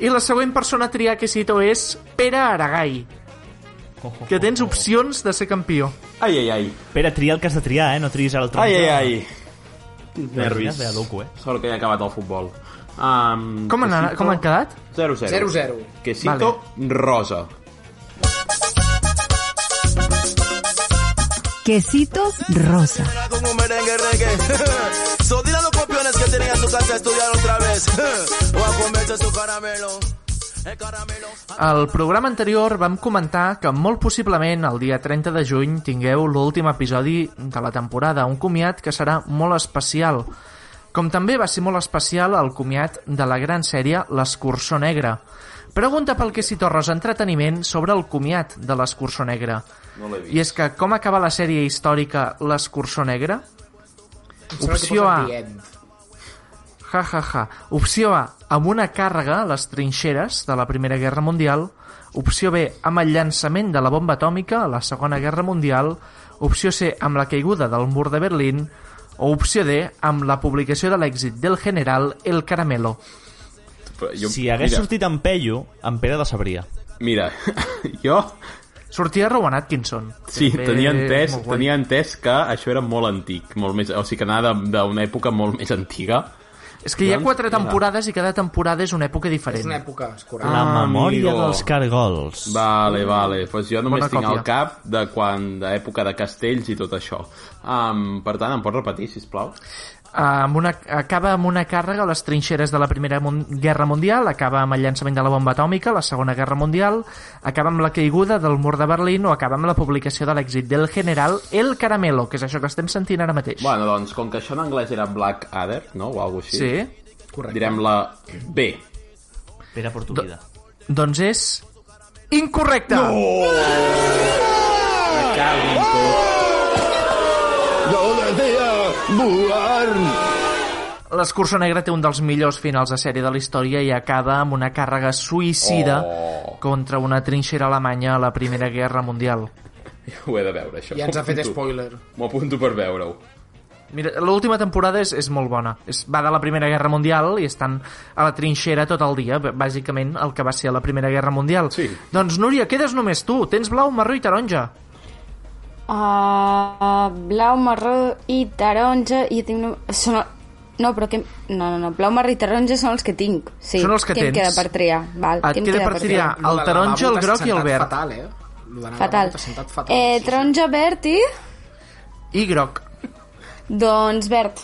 Speaker 2: I la següent persona a triar quesito és Pere Aragai, que tens opcions de ser campió.
Speaker 3: Ai, ai, ai.
Speaker 4: Pere, tria el que has de triar, eh? No triïs ara el tronc.
Speaker 3: Ai, ai, ai. Quins
Speaker 4: Però
Speaker 3: nervis.
Speaker 4: ja ve a loco, eh?
Speaker 3: Sort que ja ha acabat el futbol. Um,
Speaker 2: Com han anat- com han quedat?
Speaker 3: 0-0.
Speaker 5: 0-0.
Speaker 3: Quesito rosa.
Speaker 8: Quesito rosa.
Speaker 12: como un merengue reggae. so dile a los copiones que tienen a su casa a estudiar otra vez. o a comerse su caramelo. El caramelo.
Speaker 2: Al programa anterior vam comentar que molt possiblement el dia 30 de juny tingueu l'últim episodi de la temporada, un comiat que serà molt especial. Com també va ser molt especial el comiat de la gran sèrie L'Escursó Negre. Pregunta pel que si Torres Entreteniment sobre el comiat de L'Escursó Negre.
Speaker 3: No l'he
Speaker 2: I és que com acaba la sèrie històrica L'Escursó Negre? Opció A, Ja, ja, ja. Opció A, amb una càrrega a les trinxeres de la Primera Guerra Mundial. Opció B, amb el llançament de la bomba atòmica a la Segona Guerra Mundial. Opció C, amb la caiguda del mur de Berlín. O opció D, amb la publicació de l'èxit del general El Caramelo.
Speaker 3: Però
Speaker 4: Jo, si hagués
Speaker 2: mira.
Speaker 4: sortit en Pello, en Pere la sabria.
Speaker 3: Mira, jo...
Speaker 2: Sortia Rowan Atkinson.
Speaker 3: Sí,
Speaker 2: També
Speaker 3: tenia entès,
Speaker 2: molt guai.
Speaker 3: tenia entès que això era molt antic, molt més, o sigui que anava de- d'una època molt més antiga.
Speaker 2: És que hi
Speaker 3: doncs,
Speaker 2: ha quatre temporades i cada temporada és una època diferent.
Speaker 5: És una època, és correcte.
Speaker 4: La memòria dels cargols.
Speaker 3: Vale, vale. Pues jo només
Speaker 2: Bona
Speaker 3: tinc
Speaker 2: còpia.
Speaker 3: al cap de quan d'època de castells i tot això. Um, per tant, em pots repetir, si plau?
Speaker 2: Ah, amb una, acaba amb una càrrega a les trinxeres de la Primera Mun Guerra Mundial, acaba amb el llançament de la bomba atòmica, la Segona Guerra Mundial, acaba amb la caiguda del mur de Berlín o acaba amb la publicació de l'èxit del general El Caramelo, que és això que estem sentint ara mateix.
Speaker 3: Bueno, doncs, com que això en anglès era Black Adder, no? O alguna així.
Speaker 2: Sí.
Speaker 5: Correcte.
Speaker 3: Direm la B.
Speaker 4: Pere Portugida.
Speaker 2: Doncs és... Incorrecte! No!
Speaker 10: Jo deia volar.
Speaker 2: L'Escurçó Negra té un dels millors finals de sèrie de la història i acaba amb una càrrega suïcida oh. contra una trinxera alemanya a la Primera Guerra Mundial.
Speaker 3: Ho he de veure, això.
Speaker 5: Ja ens ha fet
Speaker 3: M'apunto.
Speaker 5: spoiler.
Speaker 3: M'ho apunto per veure-ho.
Speaker 2: Mira, l'última temporada és, és molt bona. Es va de la Primera Guerra Mundial i estan a la trinxera tot el dia, b- bàsicament el que va ser la Primera Guerra Mundial. Sí. Doncs, Núria, quedes només tu. Tens blau, marró i taronja.
Speaker 6: Uh, blau, marró i taronja i tinc... No, són... no però que... No, no, no, blau, marró i taronja són els que tinc. Sí,
Speaker 2: Són els que
Speaker 6: què em
Speaker 2: tens.
Speaker 6: queda per triar? Val,
Speaker 2: Et
Speaker 6: què em
Speaker 2: queda per triar
Speaker 5: Lo
Speaker 2: el
Speaker 5: del
Speaker 2: taronja,
Speaker 5: lavabo
Speaker 2: el
Speaker 5: t'has
Speaker 2: groc i el
Speaker 5: sentat
Speaker 2: verd.
Speaker 5: Fatal, eh? Lo
Speaker 2: Ah,
Speaker 5: d'anar al
Speaker 6: Fatal.
Speaker 5: lavabo t'has sentat fatal.
Speaker 6: Eh, taronja, verd i...
Speaker 2: I groc.
Speaker 6: Doncs verd.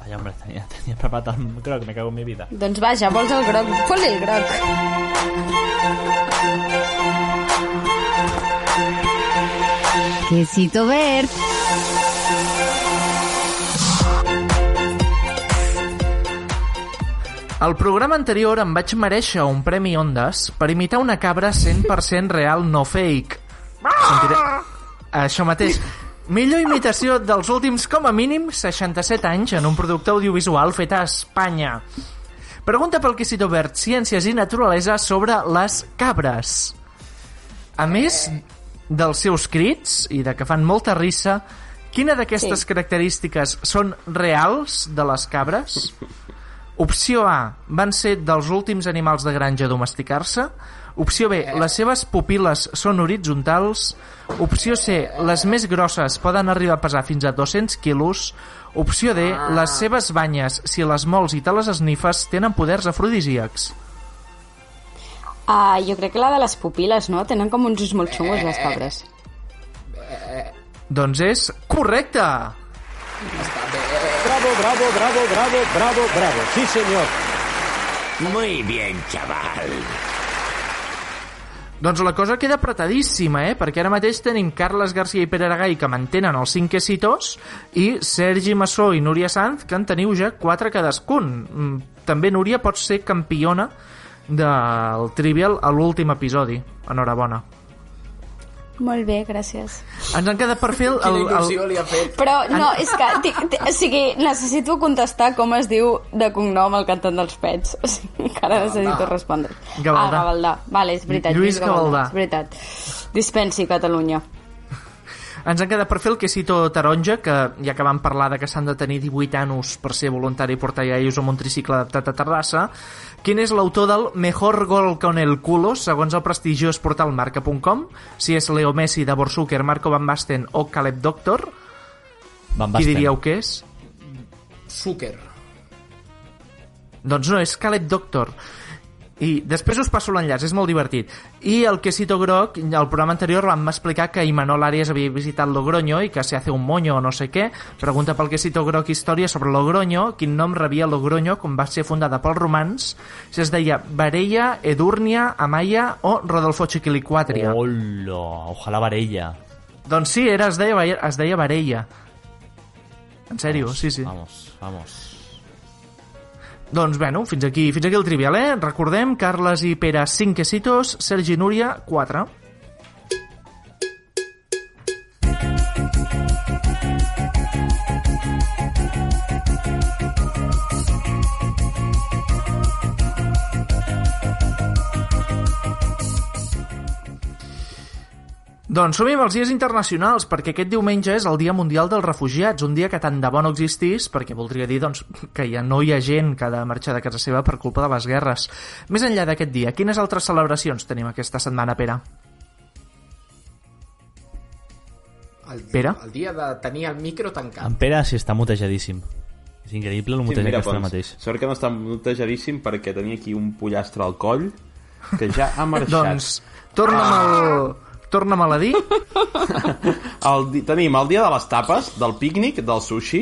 Speaker 4: Vaja, hombre, tenia, tenia preparat el croc, me cago en mi vida.
Speaker 6: Doncs vaja, vols el groc? Fos-li el groc.
Speaker 8: Quesito verd.
Speaker 2: Al programa anterior em vaig mereixer un Premi Ondas per imitar una cabra 100% real no fake. Sentiré... Això mateix. Millor imitació dels últims, com a mínim, 67 anys en un producte audiovisual fet a Espanya. Pregunta pel Quisito Verd, Ciències i Naturalesa sobre les cabres. A més dels seus crits i de que fan molta rissa, quina d'aquestes
Speaker 6: Sí.
Speaker 2: característiques són reals de les cabres? Opció A, van ser dels últims animals de granja a domesticar-se. Opció B, les seves pupil·les són horitzontals. Opció C, les més grosses poden arribar a pesar fins a 200 quilos. Opció D, les seves banyes, si les mols i te les esnifes, tenen poders afrodisíacs.
Speaker 6: Ah, jo crec que la de les pupil·les, no? Tenen com uns ulls molt xungos, les cabres.
Speaker 2: Doncs és correcte!
Speaker 10: Bravo, bravo, bravo, bravo, bravo, bravo. Sí, señor.
Speaker 11: Muy bien, chaval.
Speaker 2: Doncs la cosa queda apretadíssima, eh? Perquè ara mateix tenim Carles Garcia i Pere Aragai que mantenen els 5 quesitos i Sergi Massó i Núria Sanz que en teniu ja 4 cadascun. Mm, També Núria pot ser campiona del Trivial a l'últim episodi. Enhorabona.
Speaker 6: Molt bé, gràcies.
Speaker 2: Ens han quedat per fer el... el, el...
Speaker 5: li ha fet.
Speaker 6: Però, no, és que... T t o sigui, necessito contestar com es diu de cognom el cantant dels pets. O sigui, encara necessito respondre.
Speaker 2: Gavaldà.
Speaker 6: Ah, Gavaldà. Vale, és veritat.
Speaker 2: Lluís Gavaldà.
Speaker 6: És veritat. Dispensi, Catalunya.
Speaker 2: Ens han quedat per fer el quesito taronja, que ja que vam parlar de que s'han de tenir 18 anos per ser voluntari i portar iaios amb un tricicle adaptat a Terrassa, quin és l'autor del Mejor gol con el culo, segons el prestigiós portal marca.com, si és Leo Messi, Davor Zucker, Marco Van Basten o Caleb Doctor,
Speaker 4: Van
Speaker 2: qui
Speaker 4: Basten.
Speaker 2: diríeu que és?
Speaker 5: Zucker.
Speaker 2: Doncs no, és Caleb Doctor. I després us passo l'enllaç, és molt divertit. I el que cito groc, al programa anterior vam explicar que Imanol Arias havia visitat Logroño i que se hace un moño o no sé què. Pregunta pel que cito groc història sobre Logroño, quin nom rebia Logroño com va ser fundada pels romans, si es deia Varella, Edurnia, Amaya o Rodolfo Chiquilicuatria. Oh.
Speaker 4: Hola, ojalá Varella.
Speaker 2: Doncs sí, era, es deia, Valle- es deia Varella. En sèrio, sí, sí.
Speaker 4: Vamos, vamos.
Speaker 2: Doncs bueno, fins aquí, fins aquí el trivial, eh? Recordem, Carles i Pere, 5 quesitos, Sergi i Núria, 4. Doncs som amb els dies internacionals, perquè aquest diumenge és el Dia Mundial dels Refugiats, un dia que tant de bo no existís, perquè voldria dir doncs, que ja no hi ha gent que ha de marxar de casa seva per culpa de les guerres. Més enllà d'aquest dia, quines altres celebracions tenim aquesta setmana, Pere?
Speaker 5: El,
Speaker 2: Pere?
Speaker 5: el dia de tenir el micro tancat.
Speaker 4: En Pere sí està mutejadíssim. És increïble el mutejat que està ara mateix.
Speaker 3: doncs, sort que no està mutejadíssim perquè tenia aquí un pollastre al coll que ja ha marxat.
Speaker 2: Doncs, torna'm, el... torna'm a la dir.
Speaker 3: El, di- tenim el dia de les tapes, del pícnic, del sushi,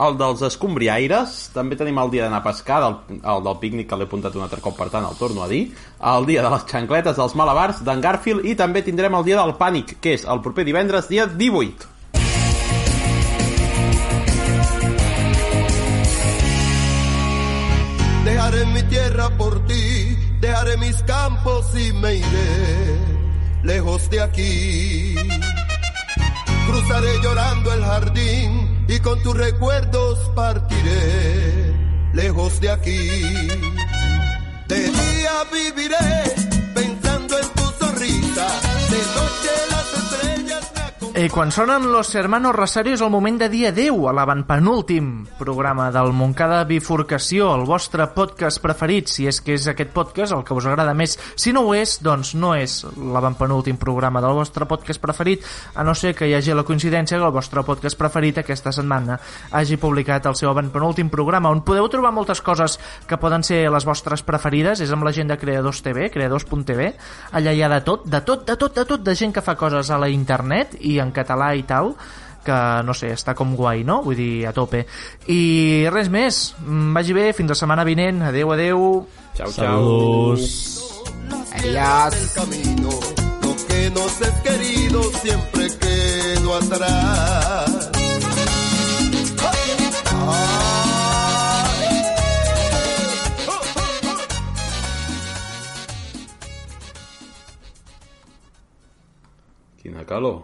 Speaker 3: el dels escombriaires, també tenim el dia d'anar a pescar, del, el del pícnic que l'he apuntat un altre cop, per tant el torno a dir, el dia de les xancletes, dels malabars, d'en Garfield, i també tindrem el dia del pànic, que és el proper divendres, dia 18.
Speaker 12: Dejaré mi tierra por ti, dejaré mis campos y me iré lejos de aquí. Cruzaré llorando el jardín y con tus recuerdos partiré lejos de aquí. De día viviré pensando en tu sonrisa, de noche las estrellas me
Speaker 2: I quan sonen Los Hermanos Rosario és el moment de dir adeu a l'avantpenúltim programa del Montcada Bifurcació, el vostre podcast preferit, si és que és aquest podcast el que us agrada més. Si no ho és, doncs no és l'avantpenúltim programa del vostre podcast preferit, a no ser que hi hagi la coincidència que el vostre podcast preferit aquesta setmana hagi publicat el seu avantpenúltim programa, on podeu trobar moltes coses que poden ser les vostres preferides, és amb la gent de Creadors TV, creadors.tv, allà hi ha de tot, de tot, de tot, de tot, de gent que fa coses a la internet i en català i tal, que no sé, està com guai, no? Vull dir, a tope. I res més, Mm, vagi bé, fins la setmana vinent, adeu, adeu.
Speaker 3: Ciao,
Speaker 5: Adiós.
Speaker 12: del camino, lo que nos es querido siempre quedó atrás.
Speaker 3: Quina calor.